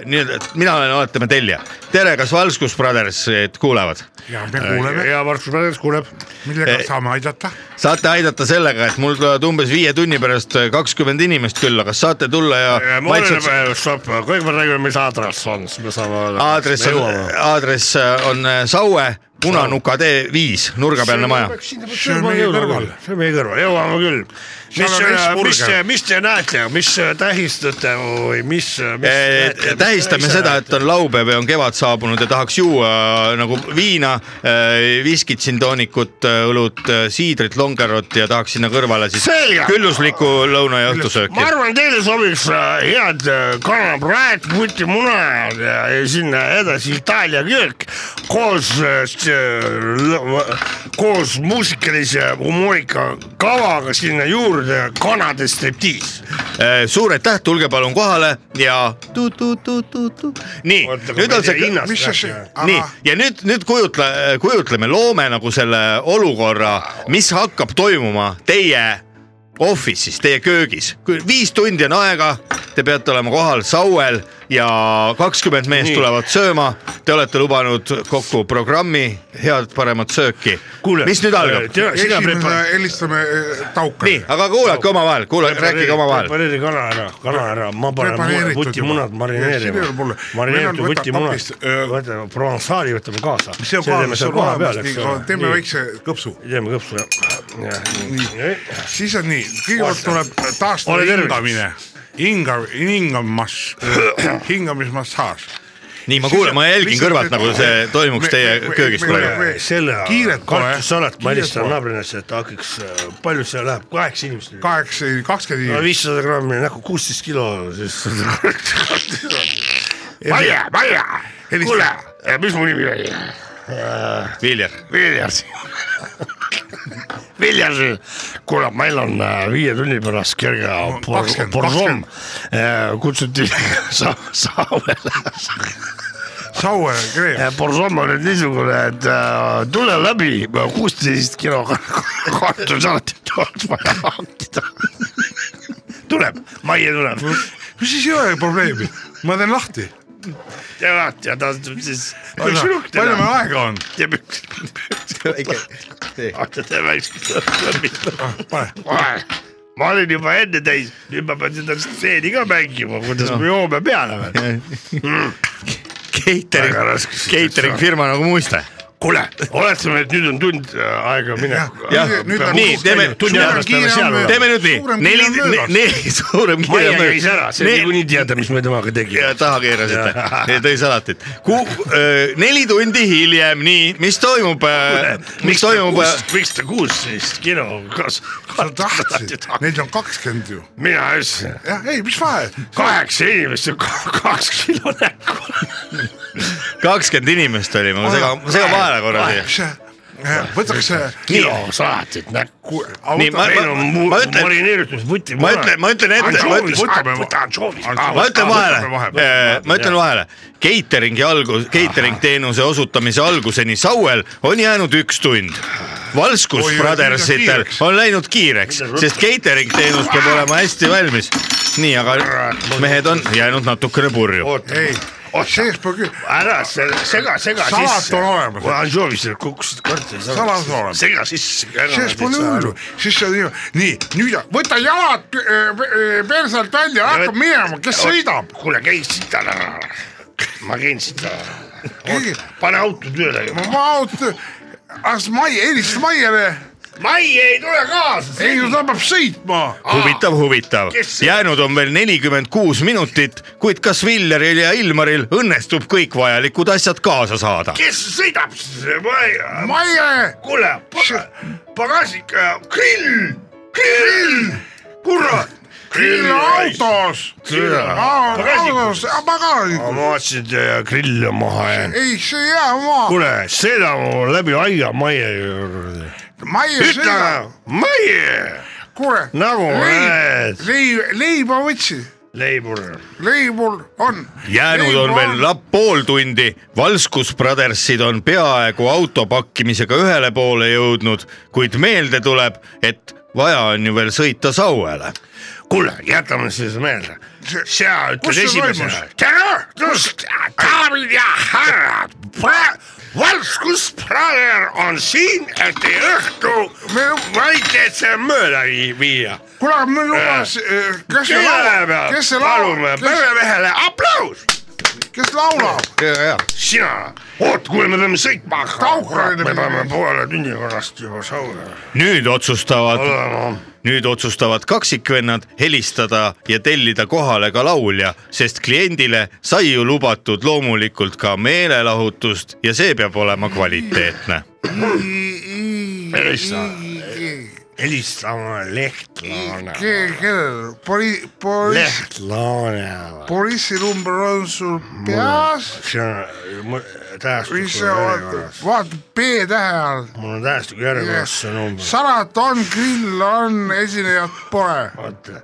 S1: nii-öelda , mina olen , oletame tellija . tere , kas Valskus Brothers eh, kuulevad ?
S9: ja
S2: Äh,
S9: me kuuleme ,
S2: ja Valskuse paradiis kuuleb
S9: millega
S1: Eh.
S9: saame aidata .
S1: saate aidata sellega , et mul tulevad umbes viie tunni pärast eh, kakskümmend inimest külla , kas saate tulla ja, ja
S2: oleneb
S1: vaikselt ,,
S2: stopp , kõigepealt räägime , mis aadress on , siis me saame öelda .
S1: aadress on , aadress on äh, Saue , Punanuka tee viis , nurgapealne maja .
S2: see on meie kõrval , see on meie kõrval , jõuame küll . mis
S9: Seal on , Hesburger.
S2: mis , mis te näete , mis tähistate või mis, mis ?
S1: Eh, tähistame seda , et on laupäev ja on kevad saabunud ja tahaks juua äh, nagu viina , viskit siin toonikut , õlut , siidrit , longerot ja tahaks sinna kõrvale siis
S2: Selge.
S1: külluslikku lõuna ja õhtusööki
S2: ma . arvan , teile sobiks äh, head äh, kanapraed , putimunad ja ja sinna edasi itaalia köök koos , koos muusikalise humoorika kavaga sinna juurde kanade striptiis .
S1: Eh, suur aitäh , tulge palun kohale ja tu-tu-tu-tu-tu . nii , nüüd on see , Ah,
S9: mis asi ?
S1: nii ja nüüd , nüüd kujutle , kujutleme , loome nagu selle olukorra , mis hakkab toimuma teie office'is , teie köögis . viis tundi on aega , te peate olema kohal Sauel ja kakskümmend meest tulevad sööma . Te olete lubanud kokku programmi head paremat sööki . mis nüüd
S2: äh,
S1: algab ?
S2: sina
S9: esimene
S2: prepare- ,
S9: helistame eh,
S1: nii
S9: Taukale ,.
S1: aga kuulake omavahel , kuulake , rääkige omavahal .
S2: prepareeri kana ära , kana ära , ma panen
S9: Prepareeritud
S2: vutimunad
S9: juba. Ja
S2: marineerima
S9: siin ei ole mulle- .
S2: marineeritud
S9: Meil on- võta
S2: vutimunad
S9: kapist, , öö,
S2: võtame provensaali võtame kaasa .
S9: see on kohas , see on olemas , teeme . väikse kõpsu .
S2: teeme kõpsu ja , ja ,
S9: siis on nii , kõigepealt tuleb taastuv
S2: Ole tervis.
S9: hingamine , hinga , hingamass , hingamismassaaž .
S1: nii , ma kuulen , ma jälgin kõrvalt , nagu see toimuks teie köögis praegu .
S2: ja . selle
S9: Kiiret pole.
S2: kartussalat ma
S9: Kiiret
S2: helistan
S9: pole.
S2: naabrinesse , et hakkaks , palju see läheb , kaheksa inimest .
S9: kaheksa , kakskümmend inimest .
S2: viissada grammi näkku , kuusteist kilo siis .
S9: Maie , Maie , kuule .
S2: äh, mis mu nimi oli ? Äh,
S1: Viljar ,
S2: Viljandi . Viljandi , kuule , meil on äh, viie tunni pärast kerge por-
S9: 20,
S2: porsoon , kutsuti sa- Saavele .
S9: Sauer , Kreem ,
S2: porsoon on nüüd niisugune , et äh, tule läbi , kuusteist kilo kartulisalat oleks vaja hankida . tuleb , Maie tuleb ,
S9: mis siis ei ole probleemi , ma teen lahti .
S2: ja lahti ja ta siis .
S9: palju meil aega on ?
S2: ja püks , teeme väikse klõppi .
S9: Ah, pane ,
S2: Vahe. ma olin juba enne täis , nüüd ma pean seda stseeni ka mängima , kuidas me joome peale veel .
S1: catering
S2: Väga raske , situatsioon.
S1: catering firma nagu Muiste .
S2: kuule , oletame , et nüüd on tund äh, aega mineku .
S1: Jah,
S9: nüüd on
S1: nii, teeme-
S2: tunni
S1: suurem
S2: ajas peame
S9: kiire
S2: seal
S9: on veel.
S2: olema .
S1: teeme nüüd nii , neli
S9: Suurem kiire on , möödas.
S1: neli , suurem kiire
S2: Maie
S1: on
S2: käis ära , see on
S1: Ne-
S2: niikuinii teada , mis me temaga
S1: ja
S2: tegime .
S1: taha keerasite , tõi salatit . neli tundi hiljem , nii , mis toimub , mis toimub , äh,
S2: miks ta kuusteist kilo , kas
S9: sa tahtsid , neid on kakskümmend ju .
S2: mina ütlesin ,
S9: jah , ei , mis vahe ,
S2: kaheksa inimest ja ka- kaks kilo näkku .
S1: kakskümmend inimest oli , ma segan , ma segan vahele korra siia .
S9: see , võtaks see ,
S2: kilo salatit näkku .
S1: Nii, ma-
S2: meil on mu-
S1: ma ütlen-
S2: marineeritud vuti .
S1: ma ütlen- ma ütlen ette- ma ütlen-
S2: võta anšoovis .
S1: ma
S2: ah,
S1: ütlen vahele , ma ütlen vahele , catering'i algus , catering teenuse osutamise alguseni Sauel on jäänud üks tund . Valskus
S9: Oi, oi,
S1: Brothersitel
S9: kiireks.
S1: on läinud kiireks , sest catering teenus peab olema hästi valmis . nii , aga mehed on jäänud natukene purju .
S9: ei , seespool küll ,
S2: ära se- sega , sega
S9: Salat
S2: sisse .
S9: on olemas.
S2: kui anšoovis kukkusid kartulid .
S9: Salat on olemas.
S2: sega sisse .
S9: sees pole hullu , siis on ju , nii , nüüd võta jalad äh, öö, öö, persalt välja , hakka minema , kes sõidab ,
S2: kuule , käi siit ära . ma käin siit ära
S9: Keegi- .
S2: pane auto tööle .
S9: ma auto , as Maie , helista Maiele ,
S2: Mai ei tule kaasa .
S9: ei ta peab sõitma .
S1: huvitav , huvitav
S2: Kes see- .
S1: jäänud on veel nelikümmend kuus minutit , kuid kas Villeril ja Ilmaril õnnestub kõik vajalikud asjad kaasa saada ?
S2: kes sõidab siis ? ma ei ,
S9: Maie ,
S2: kuule , pagasik , grill , grill , kurat .
S9: grill on . autos , autos ,
S2: ma
S9: pagasit ,
S2: vaatasin , et äh, grill on maha jäänud .
S9: ei see ei jää maha ,
S2: kuule , seda mul läbi aia maie juurde .
S9: Maie
S2: ütle
S9: sõidab ,
S2: maie ,
S9: kuule ,
S2: nagu näed ,
S9: leib , leiba võtsin ,
S2: leibur .
S9: leibul on .
S1: jäänud on veel lap- pool tundi , Valskus Brothersid on peaaegu auto pakkimisega ühele poole jõudnud , kuid meelde tuleb , et vaja on ju veel sõita Sauele .
S2: kuule , jätame siis meelde , sina
S9: Kus
S2: ütled
S9: see
S2: esimesena
S9: toimus? .
S2: tere , just , daamid ja härrad , Valskus Praler on siin , et teie õhtu kvaliteetse mööda vii- viia .
S9: kuule , aga me lubas , kes see
S2: kelle
S9: laulab ,
S2: peal
S9: kes see
S2: palume
S9: laulab ,
S2: peremehele aplaus ,
S9: kes laulab ,
S2: sina . oot , kuule , me peame sõitma hakkama ,
S9: Taukaline
S2: me peame
S9: minema.
S2: poole tunni pärast juba sauna
S1: nüüd otsustavad ,
S2: olema
S1: nüüd otsustavad kaksikvennad helistada ja tellida kohale ka laulja , sest kliendile sai ju lubatud loomulikult ka meelelahutust ja see peab olema kvaliteetne .
S2: helista , helistama Lehtlaane ,
S9: kellel , poli- , poliis ,
S2: Lehtlaane .
S9: poliisinumber on sul peas ,
S2: see on
S9: mis sa vaatad
S2: tähestusjärjekorras ,,
S9: vaata B-tähe all .
S2: mul on tähestusjärjekorras see number .
S9: salat on , grill on , esinejat pole .
S2: vaata ,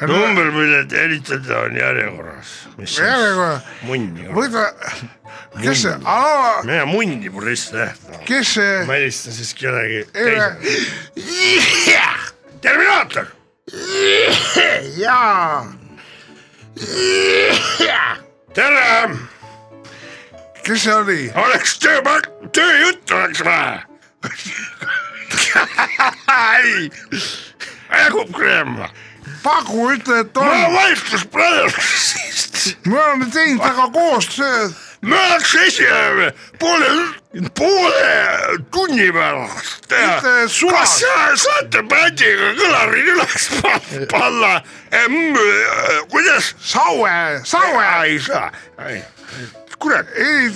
S2: number , mille te helistate , on järjekorras . mis siis
S9: järjekorra ,
S2: munni on .
S9: võta , kes see , aa ,
S2: mina munni mul lihtsalt Lehtlaane .
S9: kes see
S2: ma , helistan siis kellegi
S9: Ei,
S2: teise . Terminaator ,
S9: jaa ,
S2: tere ,
S9: kes see oli ?
S2: oleks tööpak- , tööjutt oleks vaja . ei , jagub kreema .
S9: Pagu ütle , et
S2: ma
S9: on ,
S2: vastus praegu .
S9: me oleme teinud väga koostööd .
S2: me oleks esimene poole , poole tunni pärast teha
S9: Mitte . suva-
S2: kas sa- saate bändiga kõlari üles pa- panna ? kuidas ?
S9: Saue , Saue .
S2: ei saa . kurat ,
S9: ei ,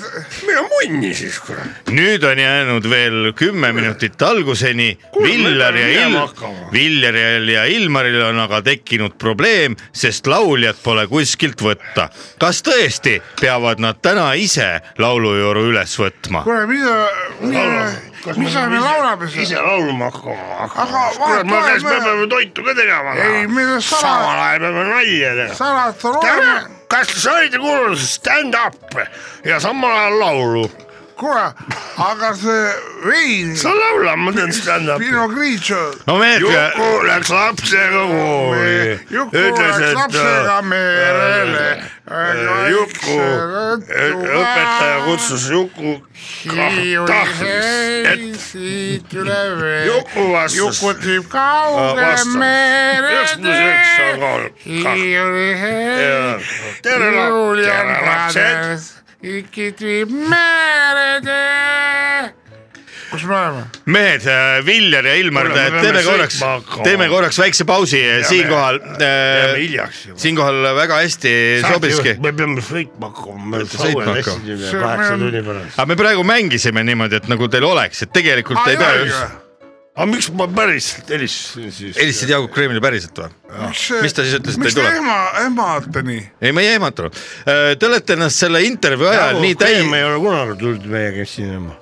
S2: mine munni siis kurat .
S1: nüüd on jäänud veel kümme minutit alguseni .
S2: Kuule,
S1: Viljar
S2: me
S1: ja
S2: peame minema
S1: Il-
S2: hakkama. ,
S1: Viljaril ja Ilmaril on aga tekkinud probleem , sest lauljat pole kuskilt võtta . kas tõesti peavad nad täna ise laulujuuru üles võtma ?
S9: kuule , mida , mida , mida me laulame
S2: siis ? ise
S9: siis ?
S2: laulma hakkama ,
S9: Aga
S2: hakkama .
S9: vaata,
S2: kurat , ma käis , me
S9: me-
S2: peame toitu ka tegema .
S9: Ei, me sala-
S2: samal ajal peame nalja tegema .
S9: salata
S2: tere
S9: loome ,,
S2: kas sa olid kuulnud stand-up'i ja samal ajal laulu ?
S9: kuule , aga see vein ,
S2: sa laula , ma teen stand-up'i .
S9: Pinot Grigio ,
S1: no Meelega ,
S2: Juku läks lapsega kooli .
S9: Juku läks lapsega Äh, merele .
S2: äh, Juku , õpetaja kutsus Juku tahvlisse , et
S9: siit üle
S2: Juku
S9: vee ,
S2: vastas.
S9: jukutib kauge
S2: vastas. just
S9: mere
S2: niisuguseks on olnud .
S9: hiiuli hei ,
S2: tere
S9: jõul
S2: lapsed ,
S9: ja
S2: tere lapsed .
S9: kades , ikitib meretee . kus me oleme ?
S1: mehed , Viljar ja Ilmar
S2: Kuule, me , peame
S1: teeme korraks
S2: sõitma hakkama. ,
S1: teeme korraks väikse pausi siinkohal .
S2: jääme hiljaks juba.
S1: siinkohal väga hästi sobiski .
S2: me peame sõitma hakkama , me
S1: Peate sõitma
S2: saame
S1: hakkama.
S2: hästi
S9: See-
S2: kaheksa
S9: me-
S2: tunni pärast .
S1: aga me praegu mängisime niimoodi , et nagu teil oleks , et tegelikult ei pea just .
S2: aga miks ma päriselt helistasin siis ?
S1: helistasid Jaagup Kreemile päriselt või ? Mis ta siis ütles, et ei
S9: miks
S1: tule?
S9: te ema , ehmate nii ?
S1: ei , me ei ehmatanud . Te olete ennast selle intervjuu ajal nii
S2: me
S1: täi-
S2: ei ole kunagi tulnud meiega esinema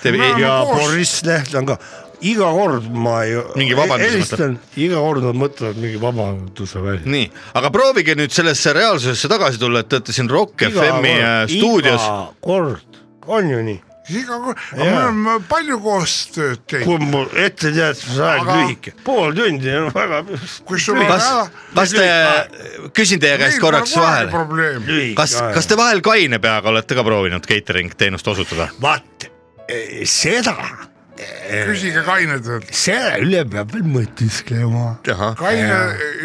S1: te- ei-
S2: ja
S9: koos.
S2: Boriss Leht on ka , iga kord ma ju
S1: Mingi vabanduse
S2: helistan , iga kord nad mõtlevad mingi vabanduse välja .
S1: nii , aga proovige nüüd sellesse reaalsusesse tagasi tulla , et te olete siin Rock FM-i äh, stuudios .
S2: iga kord , on ju nii ?
S9: iga kord , me
S2: Jaa.
S9: oleme palju koostööd teinud .
S2: kui mul etteteatuse aeg
S9: Aga-
S2: lühike , pool tundi on väga
S9: kui sul on
S1: kas
S9: ära ,,
S1: kas te , küsin teie käest korraks
S2: nagu
S1: vahele ,
S9: probleem .
S2: lühike
S1: kas , kas te vahel kaine peaga olete ka proovinud catering teenust osutada ?
S2: vaat eh, seda ,
S9: küsige kainedelt .
S2: selle üle peab veel mõtisklema .
S9: kaine .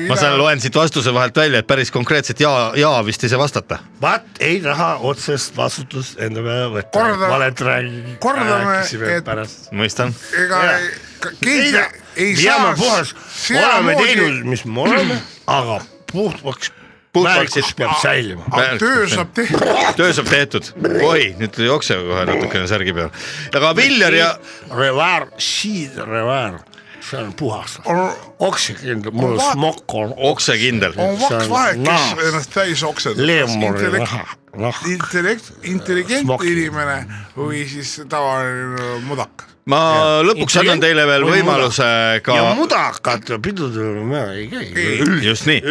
S1: ma saan ,. loen siit vastuse vahelt välja , et päris konkreetselt ja , ja vist ei saa vastata .
S2: vaat ei taha otsest vastutust enda peale võtta .
S9: Korda-
S2: valet räägi .
S9: kordame, et-
S2: pärast .
S1: mõistan .
S9: ega
S2: Jaa.
S9: ka- keegi ei, ei saa
S2: jääme . puhas , oleme teinud , mis me oleme , aga puhtaks .
S1: Puhtaks
S2: väärikus
S1: siis-
S2: peab säilima .
S9: aga töö saab tehtud .
S1: töö saab tehtud , oi , nüüd jookseb kohe natukene särgi peal . aga Viljar ja ,
S2: Revaar , siid revaar , see on puhas .
S9: on ,
S2: oksekindel , mul
S9: Va-
S2: smokk on
S1: oksekindel .
S9: on
S2: See
S9: vaks
S2: on
S9: vahe ,
S2: naas.
S9: kes ennast täis oksendab .
S2: leemuri raha , nahk .
S9: intellekt , intelligentne
S2: Smoking.
S9: inimene või siis tavaline mudak .
S1: ma lõpuks annan teile veel võimaluse ka
S2: ja mudakate pidudel me ei käi .
S1: just nii ,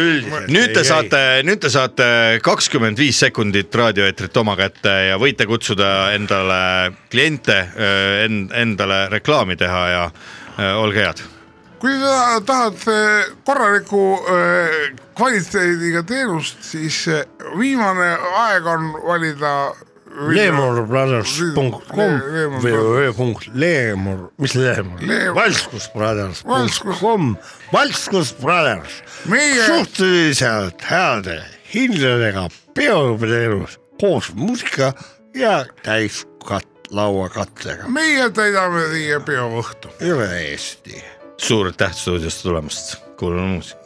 S1: nüüd te saate , nüüd te saate kakskümmend viis sekundit raadioeetrit oma kätte ja võite kutsuda endale kliente , end- , endale reklaami teha ja öö, olge head .
S9: kui sa tahad eh, korraliku eh, kvaliteediga teenust , siis eh, viimane aeg on valida .
S3: eh,
S2: leemurbrothers.com www.leemur , mis leemur
S9: Leemur. ?
S2: valskusbrothers.com , valskusbrothers .
S9: Meie-
S2: suhteliselt heade hindadega peoõppeteenus koos muusika ja täiskat- , lauakattega .
S9: meie täidame teie peoõhtu .
S2: üle Eesti .
S1: suur aitäh stuudiosse tulemast , kuulame muusikat .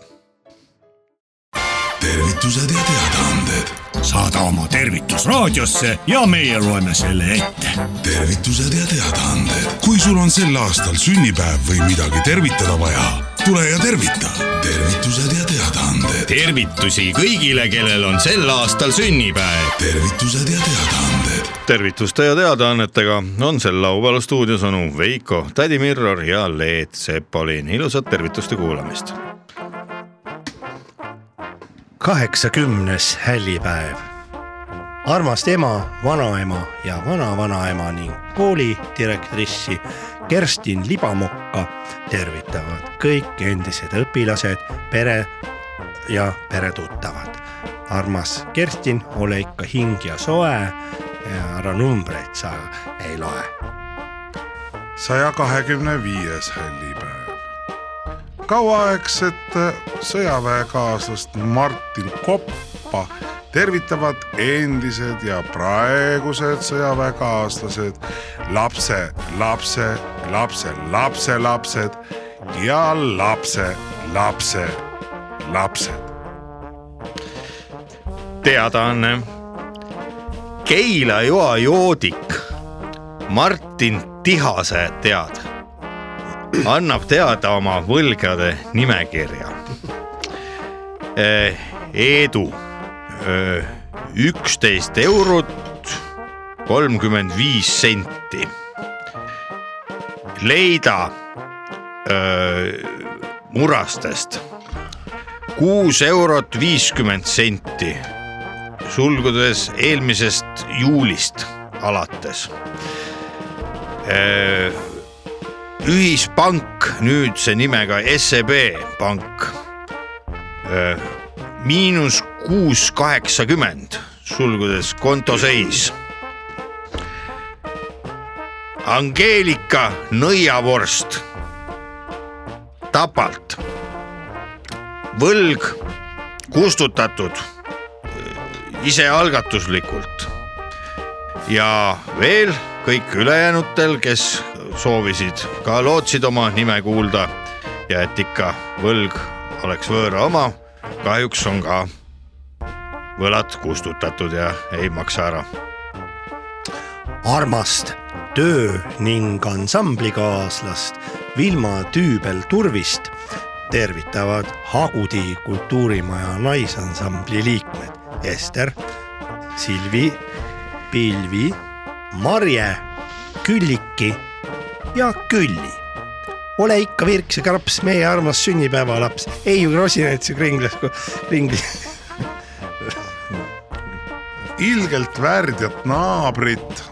S6: tervitused ja teadaanded ,
S10: saada oma tervitus raadiosse ja meie loeme selle ette .
S6: tervitused ja teadaanded . kui sul on sel aastal sünnipäev või midagi tervitada vaja , tule ja tervita . tervitused ja teadaanded ,
S10: tervitusi kõigile , kellel on sel aastal sünnipäev .
S6: tervitused ja teadaanded ,
S1: tervituste ja teadaannetega on sel laupäeval stuudios onu Veiko , tädi Mirror ja Leet Sepolin , ilusat tervituste kuulamist .
S11: kaheksakümnes hällipäev . armast ema , vanaema ja vanavanaema ning koolidirektrissi Kerstin Libamokka tervitavad kõik endised õpilased , pere ja peretuttavad .
S2: armas Kerstin , ole ikka hing ja soe ja ära numbreid sa ei loe .
S3: saja kahekümne viies hällipäev . kauaaegset sõjaväekaaslast Martin Koppa tervitavad endised ja praegused sõjaväekaaslased , lapse , lapse , lapse , lapselapsed ja lapse , lapse , lapsed .
S1: teadaanne . Keila joa joodik Martin Tihase tead , annab teada oma võlgade nimekirja . Eedu eh, üksteist eurot kolmkümmend viis senti . leida öö, murastest kuus eurot viiskümmend senti sulgudes eelmisest juulist alates . ühispank nüüdse nimega SEB pank Öö, miinus kuus kaheksakümmend sulgudes kontoseis . Angeelika nõiavorst Tapalt , võlg kustutatud isealgatuslikult . ja veel kõik ülejäänutel , kes soovisid ka lootsid oma nime kuulda ja et ikka võlg oleks võõra oma , kahjuks on ka võlad kustutatud ja ei maksa ära .
S2: armast töö ning ansamblikaaslast Vilma Tüübel Turvist tervitavad Hagudi kultuurimaja naisansambli liikmed Ester , Silvi , Pilvi , Marje , Külliki ja Külli . ole ikka virks ja kraps , meie armas sünnipäevalaps , ei ju rosinaid su kringlas , kringlis .
S3: ilgelt värdjat naabrit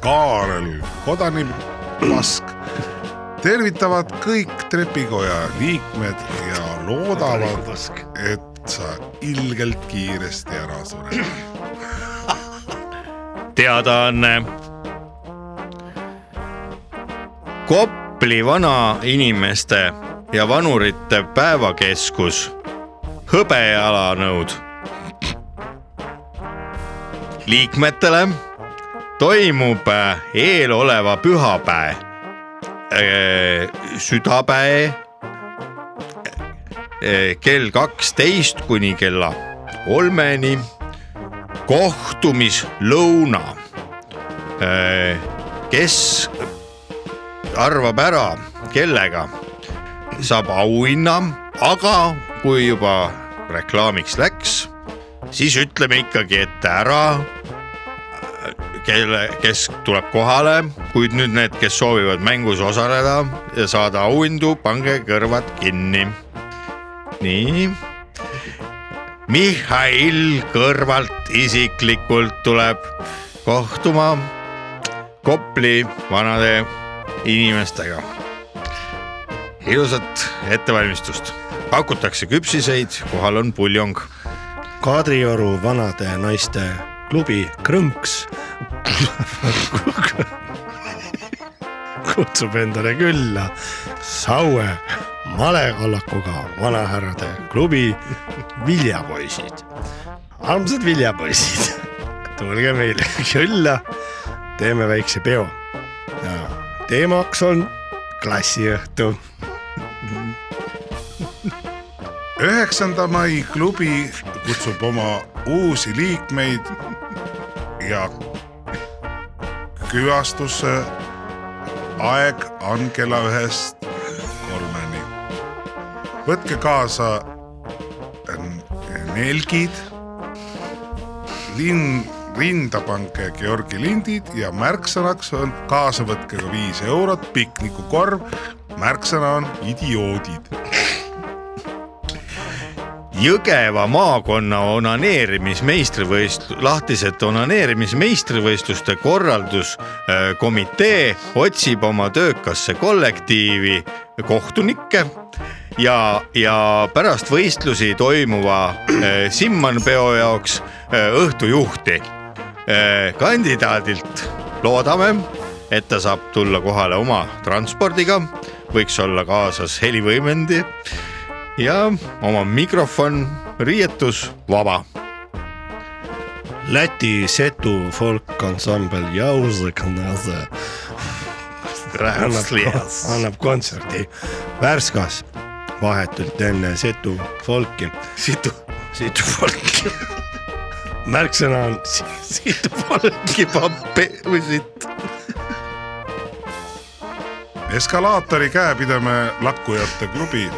S3: Kaarel Kodanil-Lask tervitavad kõik trepikoja liikmed ja loodavad , et sa ilgelt kiiresti ära sured .
S1: teadaanne . Kopli vanainimeste ja vanurite päevakeskus , hõbejalanõud . liikmetele toimub äh, eeloleva pühapäe , südapäe äh, kell kaksteist kuni kella kolmeni kohtumislõuna . kes arvab ära , kellega , saab auhinna , aga kui juba reklaamiks läks , siis ütleme ikkagi ette ära , kelle , kes tuleb kohale , kuid nüüd need , kes soovivad mängus osaleda ja saada auhindu , pange kõrvad kinni . nii Mihhail kõrvalt isiklikult tuleb kohtuma Kopli vanade inimestega . ilusat ettevalmistust , pakutakse küpsiseid , kohal on puljong .
S2: Kadrioru vanade naiste klubi Krõnks kutsub endale külla Saue malekallakuga vanahärrade klubi Viljapoisid . armsad viljapoisid , tulge meile külla , teeme väikse peo . teemaks on klassiõhtu
S3: üheksanda mai klubi kutsub oma uusi liikmeid ja külastusse aeg on kella ühest kolmeni . võtke kaasa n- nelgid , linn , rinda pange Georgi lindid ja märksõnaks on kaasa võtke ka viis eurot , piknikukorv , märksõna on idioodid
S1: Jõgeva maakonna onaneerimismeistrivõist- , lahtised onaneerimismeistrivõistluste korralduskomitee otsib oma töökasse kollektiivi kohtunikke ja , ja pärast võistlusi toimuva äh, Simmanpeo jaoks äh, õhtujuhti äh, kandidaadilt loodame , et ta saab tulla kohale oma transpordiga , võiks olla kaasas helivõimendi ja oma mikrofon , riietus vaba .
S2: Läti setu folkansambel Jauzeknase annab , annab kontserdi Värskas vahetult enne setu folki . situ , situ folki . märksõna on si- situ folki pappe või sitt .
S3: eskalaatori käepideme lakkujate klubi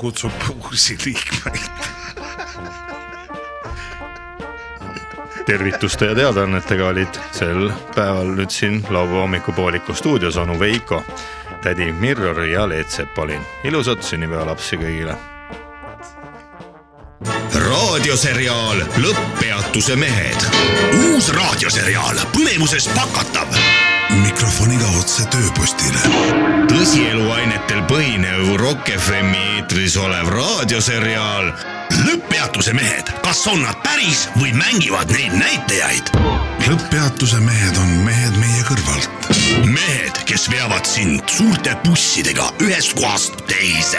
S3: kutsub uusi liikmeid .
S1: tervituste ja teadaannetega olid sel päeval nüüd siin laupäeva hommikupooliku stuudios onu Veiko , tädi Mirror ja Leet Sepolin . ilusat sünnipäevalapsi kõigile
S6: raadioseriaal Lõpppeatuse mehed . uus raadioseriaal põnevuses pakatav ,
S7: mikrofoniga otse tööpostile .
S6: tõsieluainetel põhinev Rock FM-i eetris olev raadioseriaal Lõpppeatuse mehed , kas on nad päris või mängivad neid näitajaid ?
S7: lõpppeatuse mehed on mehed meie kõrvalt .
S6: mehed , kes veavad sind suurte bussidega ühest kohast teise .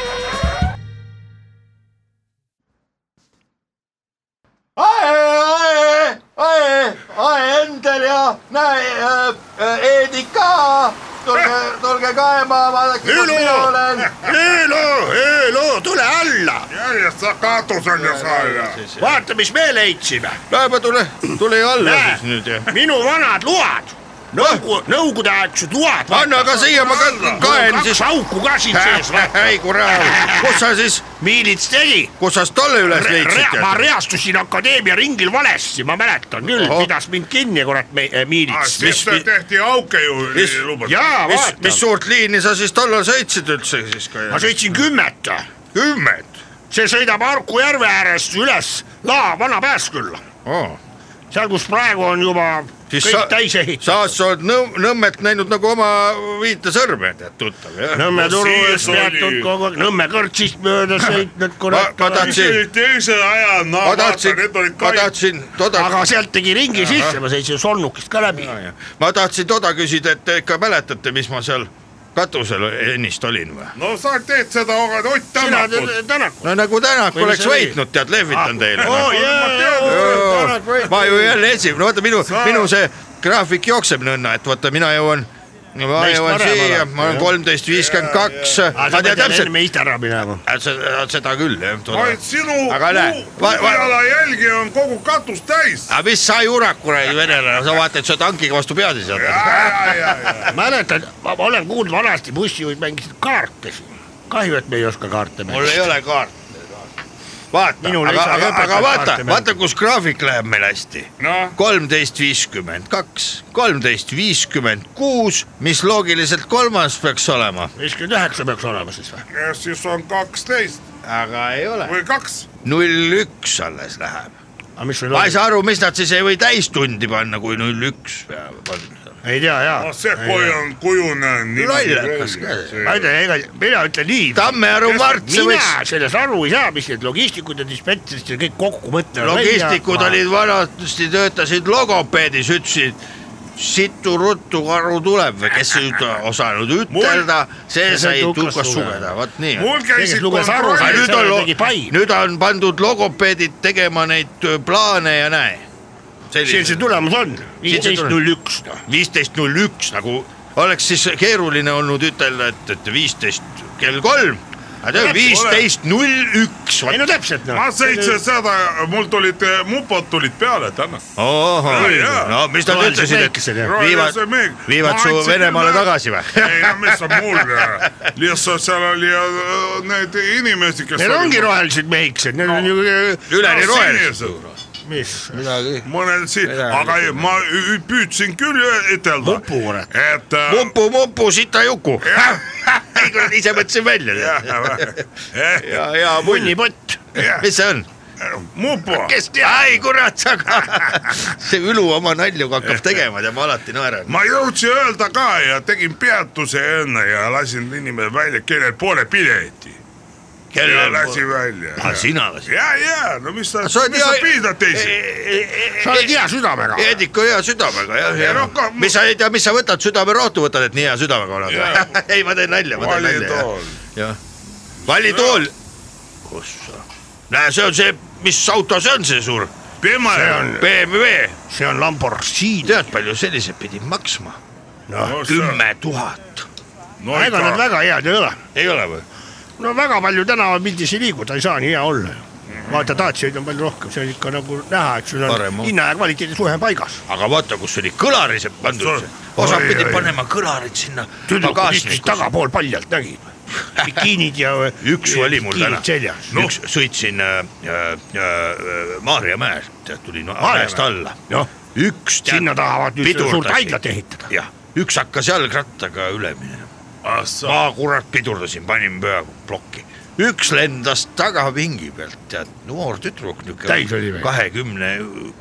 S3: Eelu , Eelu , Eelu , tule alla . järjest sa katusel ja sa ja .
S8: vaata , mis me leidsime .
S1: no tule , tule alla
S8: Näe.
S1: siis nüüd ja .
S8: minu vanad load , nõukogu , nõukogudeaegsed load .
S1: anna ka siia , ma ka- kaen siis
S8: kaks . auku ka siin sees ,
S1: ei kurat , kus sa siis ,
S8: miilits tegi .
S1: kus sa tolle üles
S8: ma
S1: leidsid ?
S8: reastusin akadeemia ringil valesti , ma mäletan küll ,
S1: Ohoh.
S8: pidas mind kinni kurat me- eh,
S1: Ah,
S8: miilits .
S3: siis tehti auke ju .
S1: mis-
S8: jaa ,
S1: mis , mis
S8: vaata ,
S1: suurt liini sa siis tollal sõitsid üldse siis ?
S8: ma sõitsin kümmet ,
S1: kümmet
S8: see sõidab Harku järve äärest üles Laa Vana-Pääskülla ,
S1: oh. .
S8: seal , kus praegu on juba
S1: siis
S8: kõik täis ehitatud .
S1: sa oled Nõmm- Nõmmet näinud nagu oma viite sõrme , tead tuttav jah no. .
S8: Nõmme
S3: No
S8: turu
S3: siis
S8: ees peatud
S3: oli-
S8: kogu aeg , Nõmme kõrtsist mööda sõitnud
S1: ma ,
S8: kurat
S1: ma . tahtsin ,
S3: teise aja , no
S1: ma tahtsin , ma tahtsin toda ,
S8: aga sealt tegi ringi sisse , ma sõitsin solnukist ka läbi .
S1: ma tahtsin toda küsida , et te ikka mäletate , mis ma seal katusel ennist olin või ?
S3: no sa teed seda , aga Ott Tänakut .
S8: Tänakut .
S1: no nagu Tänak
S8: Või mis
S1: oleks
S8: see oli? Ah,
S1: võitnud , tead , lehvitan teile . noh.
S8: oo jaa ,
S1: ma ju jälle esimene , vaata minu , minu see graafik jookseb nõnna , et vaata , mina jõuan , ma
S8: Meist
S1: jõuan
S8: varem
S1: siia ,
S8: alati,
S1: ma olen kolmteist viiskümmend kaks ,
S8: Ah,
S1: ma tean täpselt ,
S8: meist ära minema .
S1: seda küll jah
S3: vaid . sinu
S1: Aga näe,
S3: puu-
S1: va- va-
S3: jalajälgi on kogu katus täis .
S1: aga mis sa jurak , kuradi venelane , sa vaata , et sa tankiga vastu pead ei saa .
S8: mäletad , ma ma olen kuulnud vanasti bussijuhid mängisid kaarte siin . kahju , et me ei oska kaarte
S1: mul
S8: mängida .
S1: ei ole kaarti . vaata ,
S8: Minule
S1: aga ,
S8: isa
S1: aga ,
S8: õpetas
S1: aga vaata
S8: kaarte ,
S1: vaata , kus graafik läheb meil hästi . kolmteist viiskümmend kaks , kolmteist viiskümmend kuus , mis loogiliselt kolmas peaks olema ,
S8: viiskümmend üheksa peaks olema siis või ?
S3: ja siis on kaksteist
S1: aga ei ole .
S3: või kaks .
S1: null üks alles läheb .
S8: aga mis sul
S1: ma ei
S8: oli ?
S1: saa aru , mis nad siis ei või täistundi panna , kui null üks peab panna .
S8: ei tea jaa .
S3: no Ah, see kui on kujunenud .
S1: Lollakas ka see.
S8: ma ütlen , ega mina ütlen nii .
S1: Tammearu Mart , see
S8: mina
S1: võiks ,
S8: sellest aru ei saa , mis need logistikud ja dispetšerid ja kõik kokku mõtlevad .
S1: logistikud olid . vanasti töötasid logopeedis , ütlesid situ ruttu karu tuleb või kes ei üt- osanud ütelda , see
S8: see
S1: sai
S8: tukas
S1: tukas
S8: sugeda.
S1: sugeda , vot nii on .
S3: mul käisid
S8: Tegelikult luges aru,
S1: Aga
S8: sai-
S1: nüüd
S3: kontrollid
S1: on
S8: seal
S1: lo-
S8: tegi pai. ,
S1: nüüd on pandud logopeedid tegema neid öö, plaane ja näe .
S8: siin see tulemus on ,
S1: Siin see
S8: viisteist
S1: tulemus.
S8: null üks noh .
S1: viisteist null üks nagu oleks siis keeruline olnud ütelda , et , et viisteist kell kolm , viisteist null üks .
S8: ei no täpselt noh .
S3: ma Ah, seitsesada , mul tulid , mupod tulid peale täna .
S1: ohoh
S3: No jaa. ,
S1: no mis nad
S8: Rohelised
S1: ütlesid , et
S8: väikesed, jah.
S1: viivad , viivad su Venemaale tagasi või ?
S3: ei no mis on mul , lihtsalt seal oli äh, need inimesi , kes .
S8: Need ongi rohelised mehikesed , need on ju .
S1: üleni rohelised .
S8: mis ?
S3: mõnel siin , aga ei, ma ü- ü- püüdsin küll ütelda ,
S8: mupu kurat .
S3: et . äh,
S1: mupu , mupu , sita juku . ei kurat , ise mõtlesin välja .
S3: Eh,
S1: ja , ja munni ,
S8: punnipott .
S1: mis see on ?
S3: mupu ,
S1: kes teab ? ai kurat , aga see Ülu oma nalju hakkab tegema , tead ma alati naeran .
S3: ma jõudsin öelda ka ja tegin peatuse enne ja lasin inimene välja , kellel pole pileti . ja lasi välja .
S1: sina lasid ?
S3: ja , ja no mis sa ,
S1: Ah, sa oled
S3: mis sa
S1: hea-
S3: piisad teisi ?
S8: sa oled hea südamega .
S1: Eediku hea südamega jah ,
S3: Ja
S1: ja
S3: noh, ka-
S1: mis sa ei tea , mis sa võtad , südamerohtu võtad , et nii hea südamega oled
S3: Jaa. ?
S1: ei , ma teen nalja , ma teen nalja .
S3: valitool .
S1: jah , vallitool . kus sa ? näe , see on see , mis auto see on , see suur
S3: Pime on .
S1: BMW ,
S8: see on Lamborghini .
S1: tead palju sellise pidi maksma ?
S3: No see-
S1: kümme tuhat .
S3: no
S8: ega nad
S3: ikka ,
S8: väga head ei ole .
S1: ei ole või ?
S8: no väga palju tänavapildis ei liigu , ta ei saa nii hea olla ju vaata , taatsijaid on palju rohkem , see on ikka nagu näha , et sul
S1: Parem
S8: on
S1: on.
S8: hinna ja kvaliteedi suhe on paigas .
S1: aga vaata , kus oli kõlarise pandud
S3: Sul- ,
S1: osa
S8: Oi,
S1: pidi
S8: oi, oi.
S1: panema kõlarid sinna nagu
S8: tüdrukud istusid
S1: pagasnikusse .
S8: tagapool paljalt , nägid ? bikiinid ja .
S1: üks oli mul täna
S8: seljas ,.
S1: üks sõitsin äh, äh, äh, Maarjamäel , tead tulin mäest alla ,
S8: noh ,
S1: üks tead,
S8: sinna tahavad nüüd
S1: pidurdasid.
S8: suurt haiglat ehitada .
S1: jah , üks hakkas jalgrattaga üle minema , ma kurat pidurdasin , panin peaaegu plokki , üks lendas tagapingi pealt , tead noor tüdruk
S8: Täis oli
S1: niuke
S8: või?
S1: kahekümne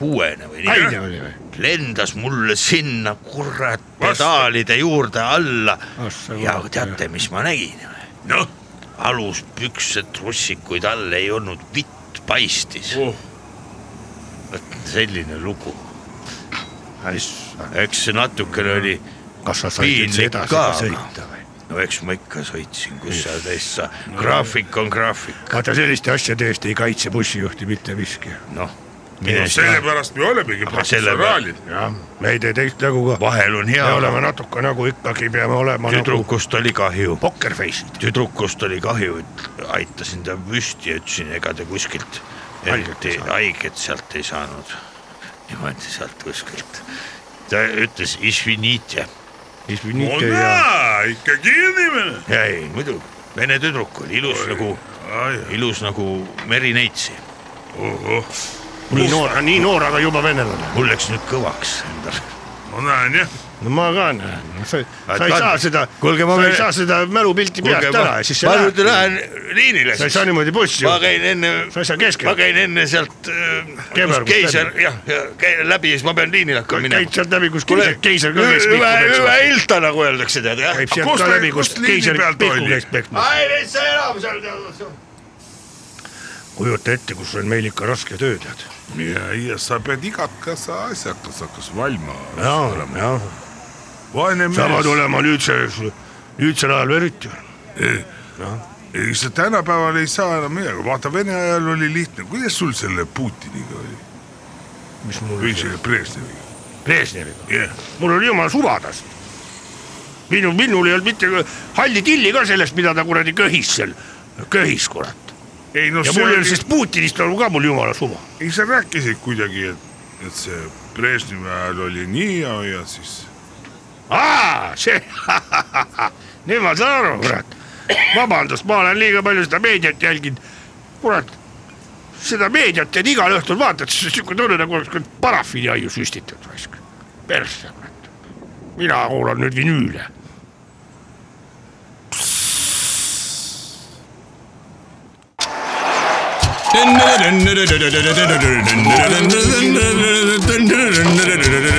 S1: kuuene või nii
S8: naine , oli või ?
S1: lendas mulle sinna kurat pedaalide juurde alla
S8: Ossa,
S1: ja
S8: kurat,
S1: teate , mis ma nägin ? noh , aluspüksed , trussikuid all ei olnud , vitt paistis
S3: Oh. .
S1: vot selline lugu , eks see natukene oli ,
S8: kas sa said üldse
S1: Piinlik ka,
S8: edasi ka noh.
S1: aga.
S8: sõita või ?
S1: no eks ma ikka sõitsin , kus sa teist sa , graafik on graafik ,
S8: vaata selliste asjade eest ei kaitse bussijuhti mitte miski .
S1: noh , mine tea ,
S3: sellepärast me olemegi
S1: selle
S3: professionaalid .
S8: jah , me ei tee teist nägu ka .
S1: vahel on
S8: me oleme
S1: hea ,
S8: natuke nagu ikkagi peame olema nagu
S1: tüdrukust oli kahju
S8: pokkerface'id .
S1: tüdrukust oli kahju , et aitasin ta püsti ja ütlesin , ega te kuskilt
S8: Haiget ei
S1: eriti
S8: saanud.
S1: haiget sealt ei saanud . niimoodi sealt kuskilt . ta ütles isvinite .
S8: Isvinite
S3: on
S8: ja
S3: näha , ikkagi inimene .
S1: ei muidugi , vene tüdruk oli ilus nagu , ilus nagu merineitsi .
S8: nii noor , nii noor , aga juba venelane .
S1: mul läks nüüd kõvaks endal .
S3: ma näen jah ,
S8: no ma ka näen , sa , sa ei
S1: kandis.
S8: saa seda ,
S1: Kuulge, ma
S8: sa ei
S1: veel-
S8: saa seda mälupilti peast ära ja siis sa
S1: ma nüüd
S8: lähed ,
S1: lähen liinile
S8: sa ei saa . niimoodi bussi
S1: ma
S8: ju .
S1: käin enne ,
S8: sa ei saa keskele.
S1: ma käin enne sealt äh,
S8: Kebergust
S1: keiser ,
S8: läbi.
S1: jah , ja läbi ja siis ma pean liinile hakkama minema
S8: käid . sealt läbi , kus
S1: kuule
S8: keiser , keiser ka käis
S1: hüve ,
S8: pihku
S1: hüve
S8: peksma .
S1: ilta nagu öeldakse , tead jah .
S8: käib sealt
S3: kus
S8: ka
S3: ta-
S8: läbi , kus
S3: kus liini
S8: keiser
S3: peal ta
S8: pihku
S3: oli?
S8: käis peksma .
S1: ai , mis sa enam seal tead .
S8: kujuta ette , kus on meil ikka raske töö tead .
S3: ja , ja sa pead igat kas asjakas hakkas valma .
S8: jaa , jaa .
S3: vaene
S8: saavad
S3: mees ,
S8: olema nüüdsel , nüüdsel ajal veel eriti .
S3: ei sa tänapäeval ei saa enam midagi , vaata Vene ajal oli lihtne , kuidas sul selle Putiniga oli
S8: mis mul
S3: või selle Brežneviga ?
S8: Brežneviga ,
S3: jah ,
S8: mul oli jumal suvadas . minu , minul ei olnud mitte halli tilli ka sellest , mida ta kuradi köhis seal , köhis kurat .
S3: ei no
S8: ja
S3: see
S8: mul ei olnud
S3: oli ,
S8: sellest Putinist on ka mul jumala suva .
S3: ei sa rääkisid kuidagi , et , et see Brežnevi ajal oli nii ja , ja siis
S8: aa , see , nüüd ma saan aru , kurat . vabandust , ma olen liiga palju seda meediat jälginud . kurat , seda meediat tead igal õhtul vaatad , siis on siuke tunne nagu oleks kurat parafiini aiu süstitud raisk . persse , kurat . mina kuulan nüüd vinüüle .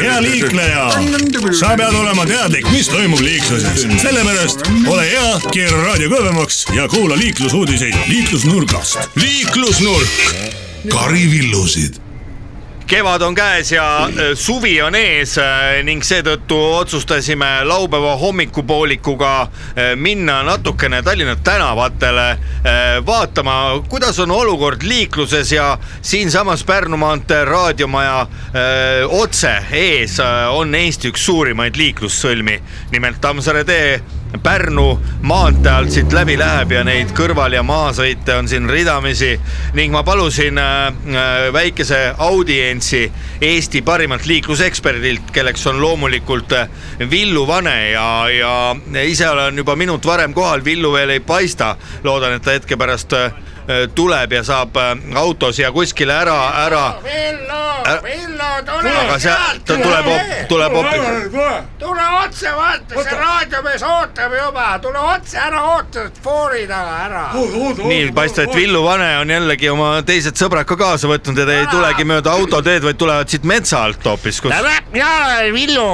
S6: hea liikleja , sa pead olema teadlik , mis toimub liikluses . sellepärast ole hea , keera raadio kõvemaks ja kuula liiklusuudiseid liiklusnurgast . liiklusnurk .
S7: Kari Villusid ,
S1: kevad on käes ja äh, suvi on ees äh, ning seetõttu otsustasime laupäeva hommikupoolikuga äh, minna natukene Tallinna tänavatele äh, vaatama , kuidas on olukord liikluses ja siinsamas Pärnu maantee raadiomaja äh, otse ees äh, on Eesti üks suurimaid liiklussõlmi , nimelt Tammsaare tee Pärnu maantee alt siit läbi läheb ja neid kõrval- ja maasõite on siin ridamisi ning ma palusin äh, äh, väikese audientsi Eesti parimalt liikluseksperdilt , kelleks on loomulikult äh, Villu Vane ja , ja ise olen juba minut varem kohal , Villu veel ei paista . loodan , et ta hetke pärast äh, äh, tuleb ja saab äh, auto siia kuskile ära , ära .
S8: Villu ,
S1: Ära-
S8: Villu , tule
S1: aga sealt ta tuleb , tuleb hoopis
S8: tule otse , vaata , see raadiomees ootab juba , tule otse , ära oota , foori taga ära .
S1: nii paistab , et Villu Vane on jällegi oma teised sõbrad ka kaasa võtnud ja te ei tulegi mööda autoteed , vaid tulevad siit metsa alt hoopis , kus
S8: tere , mina olen Villu ,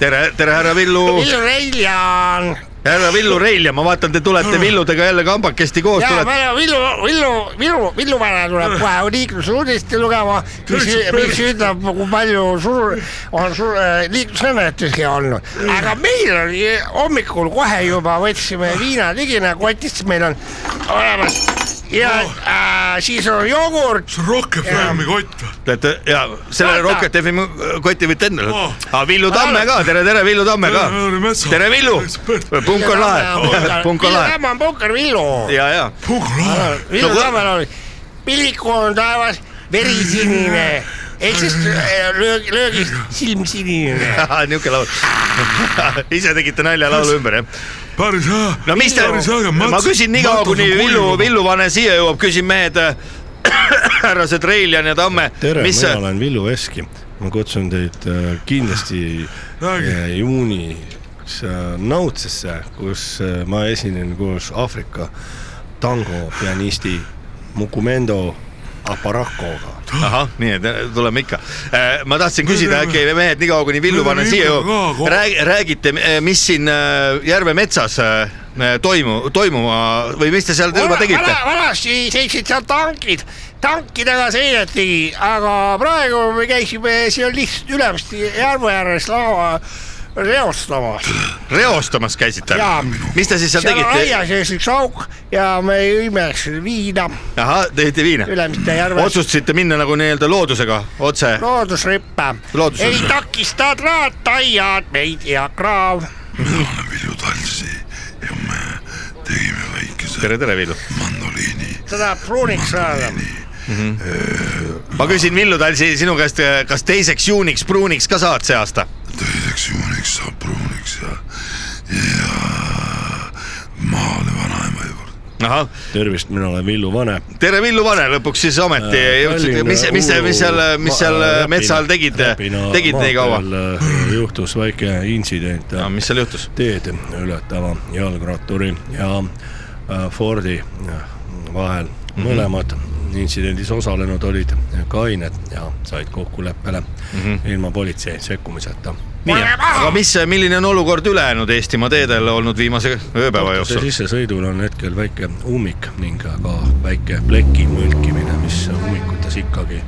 S1: tere , tere , härra Villu ,
S8: Villu Reiljan .
S1: härra Villu Reilja , ma vaatan , te tulete Villudega jälle kambakesti koos ,
S8: ja
S1: tulete ,
S8: meil on Villu , Villu , Villu , Villu vana tuleb kohe liiklusuudiste lugema , mis , mis ütleb , kui palju sur- , on sur- , liiklusõnnetusi olnud . aga meil on ju- hommikul kohe juba võtsime viina ligina kotist , meil on olemas ja
S1: Oh.
S8: äh, siis on jogurt ,
S3: see on Rock FM-i kott .
S1: tulete ja sellele
S8: Vaata!
S1: Rocket FM-i koti võite endale
S3: Oh.
S1: võtta . aga Villu Tamme ka , tere , tere , Villu Tamme ka
S3: Tere, tere, metsa- .
S1: tere , Villu ,
S3: ekspert.
S1: punk on lahe , punk on lahe
S8: Tamm on punker Villu .
S1: ja , ja
S3: Pugla ,
S8: Villu
S1: No kui-
S8: Tammel oli , pilliku on taevas verisinine , ehk siis äh, löög , löögist silmsinine .
S1: niuke laul . ise tegite nalja laulu ümber , jah ?
S3: päris hea .
S1: no mis te , ma küsin nii kaua , kuni
S3: nagu
S1: Villu , Villu Vane siia jõuab , küsin mehed äh, härrased Reiljan ja Tamme ,
S2: tere ,
S1: mis
S2: mina
S1: see ,
S2: olen Villu Veski . ma kutsun teid äh, kindlasti
S3: Räägi.
S2: äh, juunis äh, Nautsesse , kus äh, ma esinen koos Aafrika tangopianisti Mukumendo Aparakoga .
S1: ahah , nii , et äh, tuleme ikka . ma tahtsin küsida äkki mehed , nii kaua , kuni Villu
S3: Nüüd on
S1: Vane siia
S3: ikka
S1: jõuab
S3: ka , kohe.
S1: räägi , räägite , mis siin äh, Järve metsas äh, toimu , toimuma või mis te seal juba tegite ?
S8: vanasti seisid seal tankid , tankidega seireti , aga praegu me käisime seal lihtsalt Ülemiste järve ääres lava reostamas .
S1: reostamas käisite
S8: Jaa. ?
S1: mis te siis seal
S8: seal on
S1: tegite ?
S8: aia sees üks auk ja me jõime viina
S1: ahah , tegite viina ?
S8: Ülemiste järves .
S1: otsustasite minna nagu nii-öelda loodusega otse ?
S8: loodusrüppe
S1: Loodusrüppe.
S8: ei takista traataiad meid ja kraav .
S7: mina olen Villu Talsi ja me tegime väikese
S1: tere , tere , Villu .
S7: mandoliini .
S8: ta tahab pruuniks saada .
S1: ma küsin , Villu Talsi sinu käest , kas teiseks juuniks pruuniks ka saad see aasta ?
S7: teiseks juuniks saab pruuniks ja , ja maale vanaema juurde .
S1: ahah ,
S2: tervist , mina olen Villu Vane .
S1: tere , Villu Vane , lõpuks siis ometi
S2: Äh,
S1: jõudsite , mis , mis , mis seal , mis seal metsa all tegite , tegite nii kaua ??
S2: äh, juhtus väike intsident
S1: no
S2: no, ,
S1: mis seal juhtus ?
S2: teed ületava jalgratturi ja äh, Fordi vahel
S1: Mhm.
S2: mõlemad intsidendis osalenud olid kained ja said kokkuleppele mm
S1: Mhm.
S2: -hmm. ilma politsei sekkumiseta .
S1: nii , aga mis , milline on olukord ülejäänud Eestimaa teedel olnud viimase ööpäeva
S2: see
S1: jooksul ?
S2: sissesõidul on hetkel väike ummik ning ka väike pleki mõlkimine , mis ummikutes ikkagi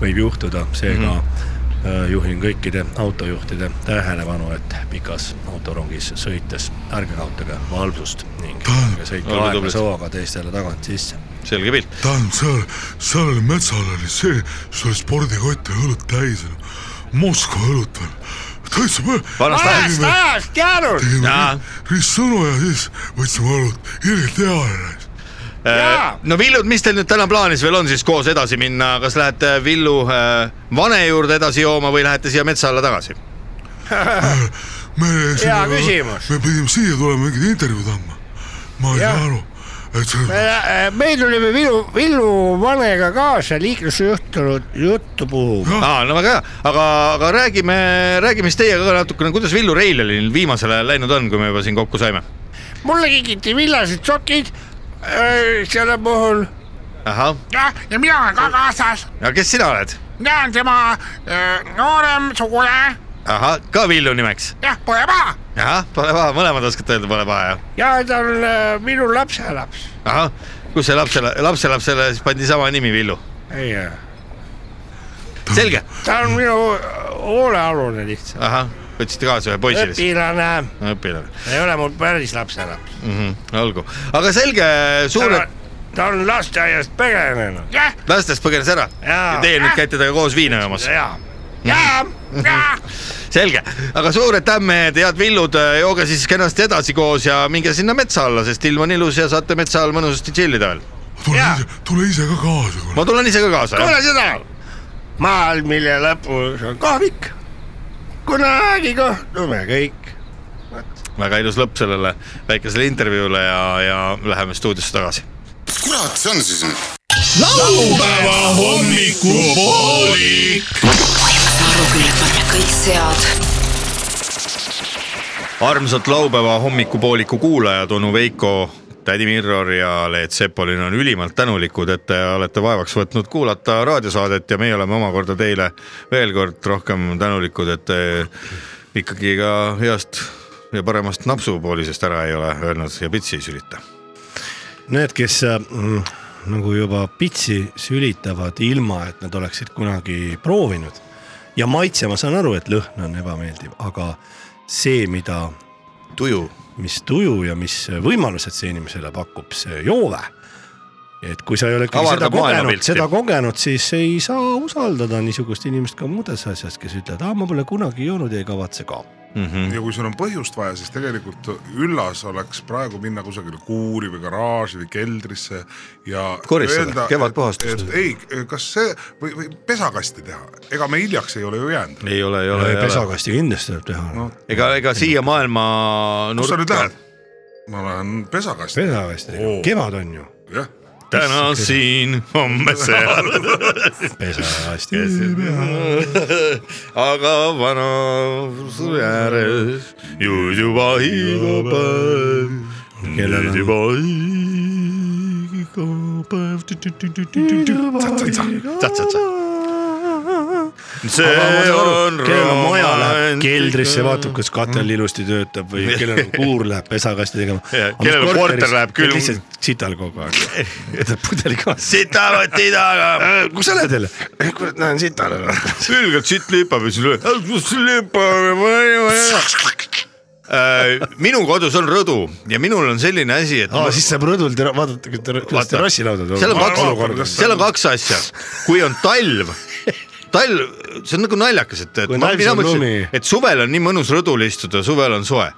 S2: võib juhtuda , seega mm
S1: Mhm.
S2: -hmm. juhin kõikide autojuhtide tähelepanu , et pikas autorongis sõites ärge kaotage valvsust ning ärge
S1: Ah,
S2: sõitke
S1: Olge tublid.
S2: aeglase hooga teistele tagant sisse .
S1: selge pilt .
S7: tähendab , seal , seal oli metsal oli see , sul oli spordikott ja õlut täis . Moskva õlut veel , täitsa põ- .
S1: Vanast ajast.
S8: vanast ajast jäänud
S1: Jaa.
S7: tegime ristsõnu ja siis võtsime õlut , ilgelt hea oli .
S8: Jaa.
S1: Äh, no Villud , mis teil nüüd täna plaanis veel on siis koos edasi minna , kas lähete Villu äh, Vane juurde edasi jooma või lähete siia metsa alla tagasi ?
S7: me sinna-
S8: küsimus.
S7: me pidime siia tulema mingid intervjuud andma . ma ei
S8: Jah.
S7: saa aru , et see ,
S8: Me- me tulime Villu , Villu vanega kaasa liiklusjuhtunud juttu puhuma .
S7: Ah.
S1: aa , no väga hea , aga , aga räägime , räägime siis teiega ka natukene , kuidas Villu Reilalil viimasel ajal läinud on , kui me juba siin kokku saime ?
S8: mulle kingiti villased sokid äh, selle puhul .
S1: ahah ,
S8: jah , ja mina olen ka kaasas ,
S1: aga kes sina oled ?
S8: mina olen tema äh, noorem sugulane ,
S1: ahah , ka Villu nimeks .
S8: jah , pole paha .
S1: ahah , pole paha , mõlemad oskate öelda , pole paha jah .
S8: ja ta on äh, minu lapselaps .
S1: ahah , kus see lapsele , lapselapsele siis pandi sama nimi Villu .
S8: ei ,
S1: selge ,
S8: ta on minu äh, hoolealune lihtsalt ,
S1: ahah , võtsite kaasa ühe poisi siis .
S8: õpilane ,
S1: õpilane ,
S8: ei ole mul päris lapselaps .
S1: Mhm, olgu , aga selge , suur
S8: Ta, ta on lasteaiast põgenenud . jah ,
S1: lastest põgenes ära
S8: Jaa.
S1: ja teie nüüd käite temaga koos viina joomas .
S8: ja , jaa , jaa .
S1: selge , aga suured tämmehed , head villud , jooge siis kenasti edasi koos ja minge sinna metsa alla , sest ilm on ilus ja saate metsa all mõnusasti tšillida veel .
S7: tule
S8: Jaa.
S7: ise , tule ise ka kaasa , kurat .
S1: ma tulen ise ka kaasa .
S8: kuule seda , maal , mille lõpus on kohvik , kunagi kohtume kõik .
S1: väga ilus lõpp sellele väikesele intervjuule ja , ja läheme stuudiosse tagasi .
S4: mis kurat see on siis nüüd ?
S6: laupäeva hommikupoolik .
S5: saan aru küll , et ma olen kõik sead .
S1: armsat laupäeva hommikupooliku kuulajad , onu Veiko , tädi Mirror ja Leet Sepolin on ülimalt tänulikud , et te olete vaevaks võtnud kuulata raadiosaadet ja meie oleme omakorda teile veel kord rohkem tänulikud , et te ikkagi ka heast ja paremast napsupoolisest ära ei ole öelnud ja pitsi ei sülita .
S2: Need , kes äh, mm, nagu juba pitsi sülitavad ilma , et nad oleksid kunagi proovinud ja maitse , ma saan aru , et lõhn on ebameeldiv , aga see , mida ,
S1: tuju .
S2: mis tuju ja mis võimalused see inimesele pakub , see joove . et kui sa ei ole ikkagi seda
S1: Avardab
S2: kogenud ,
S1: maailmapilti.
S2: seda kogenud , siis ei saa usaldada niisugust inimest ka muudes asjas , kes ütlevad , aa , ma pole kunagi joonud ja ei kavatse ka .
S3: ja kui sul on põhjust vaja , siis tegelikult üllas oleks praegu minna kusagile kuuri või garaaži või keldrisse ja .
S1: Koristada, kevadpuhastust.
S3: ei , kas see või , või pesakasti teha , ega me hiljaks ei ole ju jäänud .
S1: ei ole , ei ole , ei ole .
S2: pesakasti kindlasti tuleb teha no. .
S1: ega , ega siia maailma
S3: kus sa nüüd
S1: nurka
S3: lähed ? ma lähen pesakasti ,
S2: pesakasti oh. , kevad on ju ,
S3: jah .
S1: täna siin , homme seal .
S2: pesakasti .
S1: aga vana ääres nüüd juba iga päev ,
S2: Kellel
S1: nüüd
S2: on-
S1: juba iga päev . tsa-tsa-tsa . see on
S2: kellel on maja , läheb keldrisse ,
S1: romantika.
S2: vaatab , kas katel ilusti töötab või kellel on kuur , läheb pesakasti tegema
S1: Ja, kellel on korter, läheb külm-
S2: lihtsalt sital kogu aeg , võtab pudeli kaasa .
S1: sita võti taga ,
S2: kus sa lähed jälle ?
S1: Eh,
S2: kurat , lähen sitale .
S1: selgelt siit lüpab ja siis lööb , kus see lüpab . Äh, minu kodus on rõdu ja minul on selline asi , et
S2: aa , siis saab rõdul ter- , vaadata , kuidas
S1: Vaata.
S2: terrassilaudad
S1: seal on
S3: Olukord,
S1: kaks ,
S3: kas
S1: seal on kaks asja , kui on talv , talv , see on nagu naljakas , et , et
S2: Kui
S1: ma
S2: talvis
S1: mina
S2: on lumi.
S1: mõtlesin , et suvel on nii mõnus rõdul istuda , suvel on soe .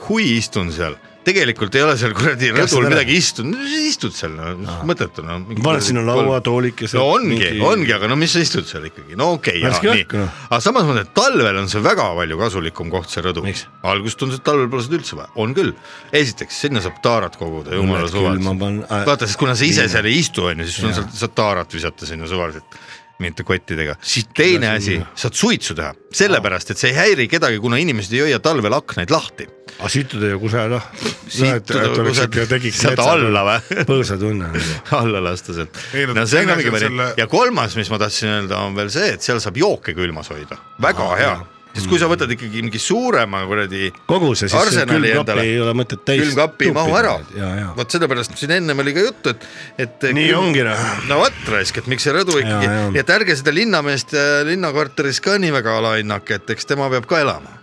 S1: kui istun seal , tegelikult ei ole seal kuradi
S2: Kas
S1: rõdul
S2: seda-
S1: midagi istunud , istud seal , no noh, mõttetu no .
S2: paned sinna laua , toolikese .
S1: no ongi , ongi , aga no mis sa istud seal ikkagi , no okei
S2: Värske
S1: okay, ,
S2: õhk,
S1: nii
S2: noh. .
S1: aga samas ma mõtlen , et talvel on see väga palju kasulikum koht , see rõdu
S2: Miks? .
S1: alguses tundus , et talvel pole seda üldse vaja , on küll . esiteks , sinna saab taarat koguda , jumala
S2: Õnned
S1: suvel
S2: külma . pan- a-
S1: vaata , sest kuna sa ise
S2: äh, viina.
S1: seal ei istu , onju , siis sul on seal , saad taarat visata sinna suvaliselt mingite kottidega . teine asi , saad suitsu teha , sellepärast et see ei häiri kedagi , kuna inimesed ei hoia talvel aknaid lahti .
S2: aga situda ja kuse noh .
S1: sealt alla või ?
S2: põõsatunne nagu .
S1: alla lasta sealt
S3: Ei, . no
S1: no see on
S3: selles
S1: ongi
S3: on
S1: variant
S3: selle-
S1: ja kolmas , mis ma tahtsin öelda , on veel see , et seal saab jooke külmas hoida , väga hea , sest kui sa võtad ikkagi mingi suurema kuradi
S2: koguse , siis see
S1: Arsenali
S2: külmkapi
S1: endale.
S2: ei ole mõtet täis .
S1: külmkapi ei mahu ära
S2: ja , ja .
S1: vot sellepärast siin ennem oli ka juttu , et , et .
S2: Nii ongi, noh.
S1: no vot raisk , et miks see rõdu ikkagi
S2: Ja, ja. ,
S1: nii et ärge seda linnameest äh, linnakorteris ka nii väga alahinnake , et eks tema peab ka elama .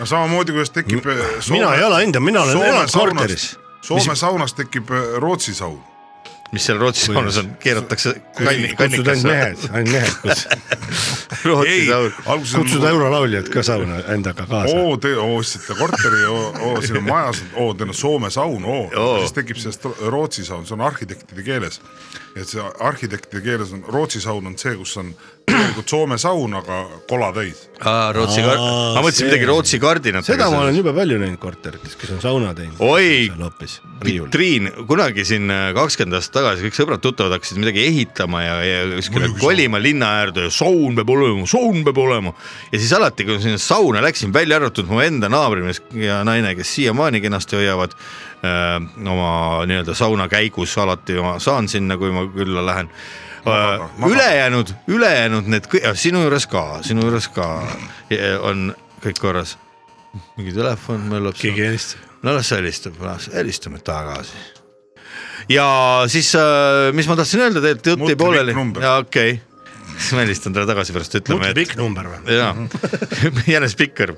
S3: no samamoodi , kuidas tekib . eh,
S2: mina ei ala hinda , mina olen elanud korteris ..
S3: Soome saunas tekib äh, Rootsi saun .
S1: mis seal Rootsi saunas on , keeratakse kanni ,
S2: kutsud ainult mehed
S1: kannikasse . ,
S2: ainult mehed kutsud ,
S1: Rootsi
S3: ei
S1: saun ,.
S3: alguses
S2: kutsud . eurolauljad ka sauna endaga kaasa .
S3: oo , te oo, ostsite korteri , oo , siin on majas , oo , teil on Soome saun , oo
S1: Joo. .
S3: siis tekib sellest Rootsi saun , see on arhitektide keeles . et see arhitektide keeles on , Rootsi saun on see , kus on tegelikult Soome saun , aga kola täis .
S1: aa , Rootsi kard- ,
S2: Aa,
S1: ma mõtlesin
S2: see.
S1: midagi Rootsi kardinatega .
S2: seda ma olen jube palju näinud korterites , kes on sauna teinud .
S1: Oi,
S2: seal hoopis riiul .
S1: vitriin , kunagi siin äh, kakskümmend aastat tagasi kõik sõbrad-tuttavad hakkasid midagi ehitama ja , ja kuskile kolima linna äärde ja saun peab olema , saun peab olema . ja siis alati , kui ma sinna sauna läksin , välja arvatud mu enda naabrimees ja naine , kes siiamaani kenasti hoiavad öö, oma nii-öelda sauna käigus alati ma saan sinna , kui ma külla lähen .
S3: magada.
S1: ülejäänud , ülejäänud need , sinu juures ka , sinu juures ka ja on kõik korras . mingi telefon möllab .
S2: keegi helistab .
S1: no las see helistab , helistame tagasi . ja siis , mis ma tahtsin öelda , tegelikult jutt jäi
S3: Mutri
S1: pooleli ,
S3: number.
S1: okei . siis ma helistan talle tagasi pärast , ütleme , et
S2: pikk number või ?
S1: jaa , jälle spikker .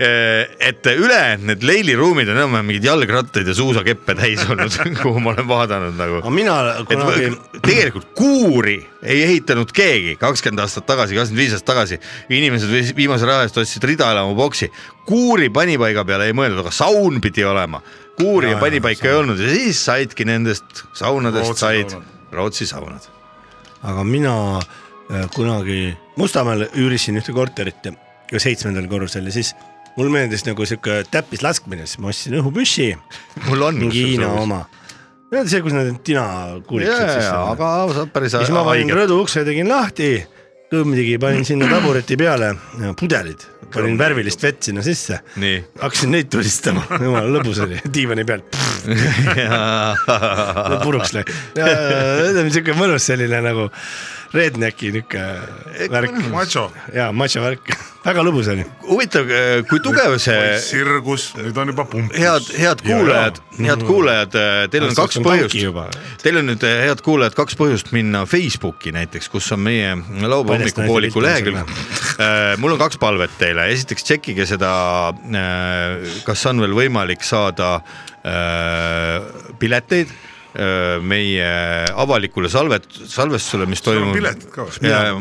S1: et üle need leiliruumid on enam-vähem mingid jalgrattaid ja suusakeppe täis olnud , kuhu ma olen vaadanud nagu .
S2: aga mina
S1: et
S2: kunagi
S1: võ- tegelikult kuuri ei ehitanud keegi kakskümmend aastat tagasi , kakskümmend viis aastat tagasi . inimesed võis- viimase raha eest ostsid ridaelamu boksi , kuuri panipaiga peale ei mõeldud , aga saun pidi olema . kuuri ja panipaika ei olnud ja siis saidki nendest saunadest
S3: Rootsi
S1: said
S3: saunad.
S1: Rootsi saunad .
S2: aga mina äh, kunagi Mustamäel üürisin ühte korterit ja seitsmendal korrusel ja siis mulle meeldis nagu sihuke täppislaskmine , siis ma ostsin õhupüssi ,
S1: mul on .
S2: mingi Hiina . oma . see , kus need tinakuulikud sisse
S1: jaa ,
S2: on .
S1: aga saab päris
S2: siis ma panin rõdu ukse tegin lahti , kõmmigi panin sinna tabureti peale , pudelid , panin värvilist vett sinna sisse .
S1: Nii.
S2: hakkasin neid tulistama , jumala lõbus oli , diivani peal
S1: rõõm .
S2: puruks läks . ütleme siuke mõnus selline nagu rednecki niuke värk .
S3: macho ,
S2: jaa , matša värk , väga lõbus oli .
S1: huvitav , kui tugev see ,
S3: sirgus , nüüd on juba pumpus .
S1: Äh, head , head kuulajad , head kuulajad , teil Mm. on kaks põhjust , teil on nüüd , head kuulajad , kaks põhjust minna Facebooki näiteks , kus on meie laupäeva
S2: Paljast
S1: hommikupooliku
S2: naise pilt
S1: lehekülg Eh,
S2: on .
S1: mul on kaks palvet teile , esiteks tšekkige seda , kas on veel võimalik saada äh, pileteid äh, meie avalikule salvet- , salvestusele , mis
S3: on
S1: toimub .
S3: piletid ka või?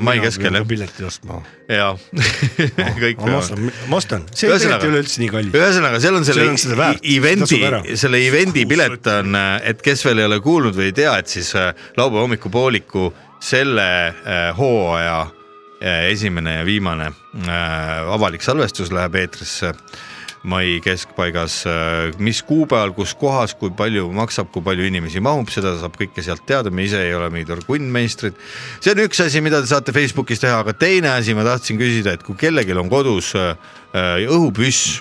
S1: mai keskel jah ,
S2: pileti ostma .
S1: jaa kõik
S2: ma
S1: peavad .
S2: ostan , ma ostan , see pilet ei ole üldse nii kallis .
S1: ühesõnaga , seal on selle
S2: See on seda väärt,
S1: i- event'i
S2: tasub ära. ,
S1: selle event'i pilet on , et kes veel ei ole kuulnud või ei tea , et siis äh, laupäeva hommikupooliku selle äh, hooaja äh, esimene ja viimane äh, avalik salvestus läheb eetrisse mai keskpaigas , mis kuupäeval , kus kohas , kui palju maksab , kui palju inimesi mahub , seda saab kõike sealt teada , me ise ei ole mingid orgunnmeistrid . see on üks asi , mida te saate Facebookis teha , aga teine asi , ma tahtsin küsida , et kui kellelgi on kodus äh, äh, õhupüss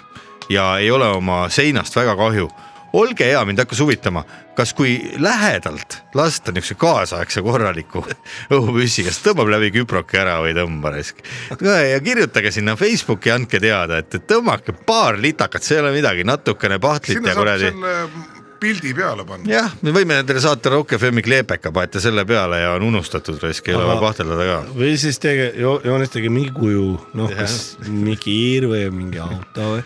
S1: ja ei ole oma seinast väga kahju . olge hea , mind hakkas huvitama , kas kui lähedalt lasta niisuguse kaasaegse korraliku õhupüssi , kas tõmbab läbi küproki ära või ei tõmba raisk . ja kirjutage sinna Facebooki , andke teada , et tõmmake paar litakat , see ei ole midagi , natukene pahtlit
S3: sinna
S1: ja
S3: saab
S1: kuradi
S3: selle pildi peale panna .
S1: jah , me võime endale saata Rock FM-i kleepeka , panete selle peale ja on unustatud raisk , ei ole
S2: Aga-
S1: vaja pahteldada ka .
S2: või siis tege- , joonistage mingi kuju , noh , kas mingi kiir või mingi auto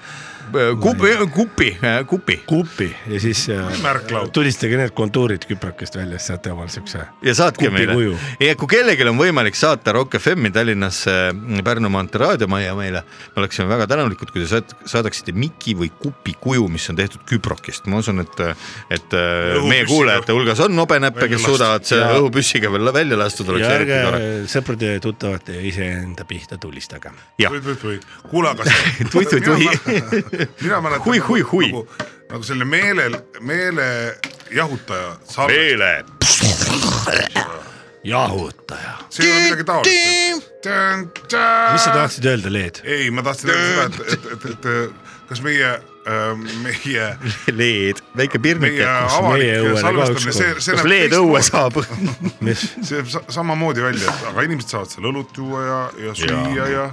S2: või
S1: kupi , kupi , kupi
S2: kupi ja siis äh,
S3: märklaud.
S2: tulistage need kontuurid küprakest välja , siis saate omal siukse .
S1: ja saatke
S2: Kupi
S1: meile
S2: kuju. .
S1: ja kui kellelgi on võimalik saata Rock FM-i Tallinnasse mm, Pärnu maantee raadiomajja meile , me oleksime väga tänulikud , kui te saat- saadaksite Miki või Kupi kuju , mis on tehtud küprokist , ma usun , et , et äh, meie
S3: Õhupüssiga.
S1: kuulajate hulgas on nobenäppe , kes
S3: Välja
S1: suudavad selle
S2: Ja-
S1: õhupüssiga veel välja lastud , oleks
S2: ja
S1: eriti
S2: ärge
S1: tore .
S2: sõprade ja tuttavate ja iseenda pihta tulistage .
S1: jah ,
S3: tui-tui-tui , kuule aga .
S1: Tui-tui-tui. .
S3: mina mäletan .
S1: Hui, hui, hui.
S3: nagu, nagu selle meelel , meelejahutaja .
S1: meele .
S2: jahutaja .
S3: see ei ole midagi taolist .
S2: mis
S1: Ah.
S2: sa tahtsid öelda , Leed ?
S3: ei , ma tahtsin öelda seda , et , et , et , et kas meie , meie ,
S1: LED , väike pirnike
S3: meie .
S2: meie õue oli
S3: avalik
S2: ka
S3: salvestamine , see ,
S2: ükskord.
S3: see
S1: kas LED õue saab ?
S2: mis ?
S3: see jääb sa- samamoodi välja , aga inimesed saavad seal õlut juua ja , ja süüa ja .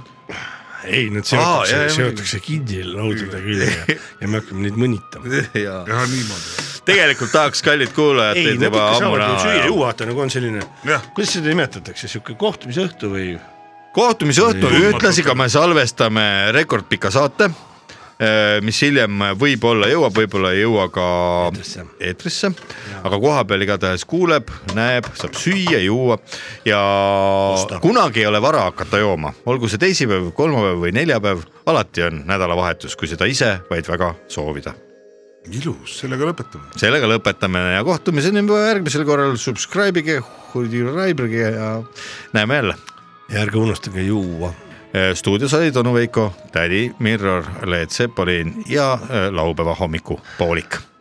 S2: ei , need
S1: Aa,
S2: seotakse
S1: jah, ,
S2: seotakse kinni laudade külge ja, ja me hakkame neid mõnitama .
S3: ja niimoodi .
S1: tegelikult tahaks , kallid kuulajad ,
S2: ei ,
S1: teid
S2: nad
S1: juba
S2: ikka
S1: ammu
S2: saavad ju süüa ja
S1: näha .
S2: juua , vaata nagu on selline ,
S3: Jah.
S2: kuidas seda nimetatakse , sihuke kohtumisõhtu või ?
S1: kohtumisõhtul ühtlasi ka me salvestame rekordpika saate , mis hiljem võib-olla jõuab , võib-olla ei jõua ka
S2: Eetrisse.
S1: eetrisse , aga kohapeal igatahes kuuleb , näeb , saab süüa , juua ja
S2: Osta.
S1: kunagi ei ole vara hakata jooma , olgu see teisipäev , kolmapäev või neljapäev , alati on nädalavahetus , kui seda ise vaid väga soovida .
S3: ilus , sellega lõpetame .
S1: sellega lõpetame ja kohtumiseni juba järgmisel korral , subscribe ige , subscribe ige ja näeme jälle
S2: ja ärge unustage juua .
S1: stuudios olid onu Veiko , tädi Mirror , Leet Sepolin ja äh, laupäeva hommikupoolik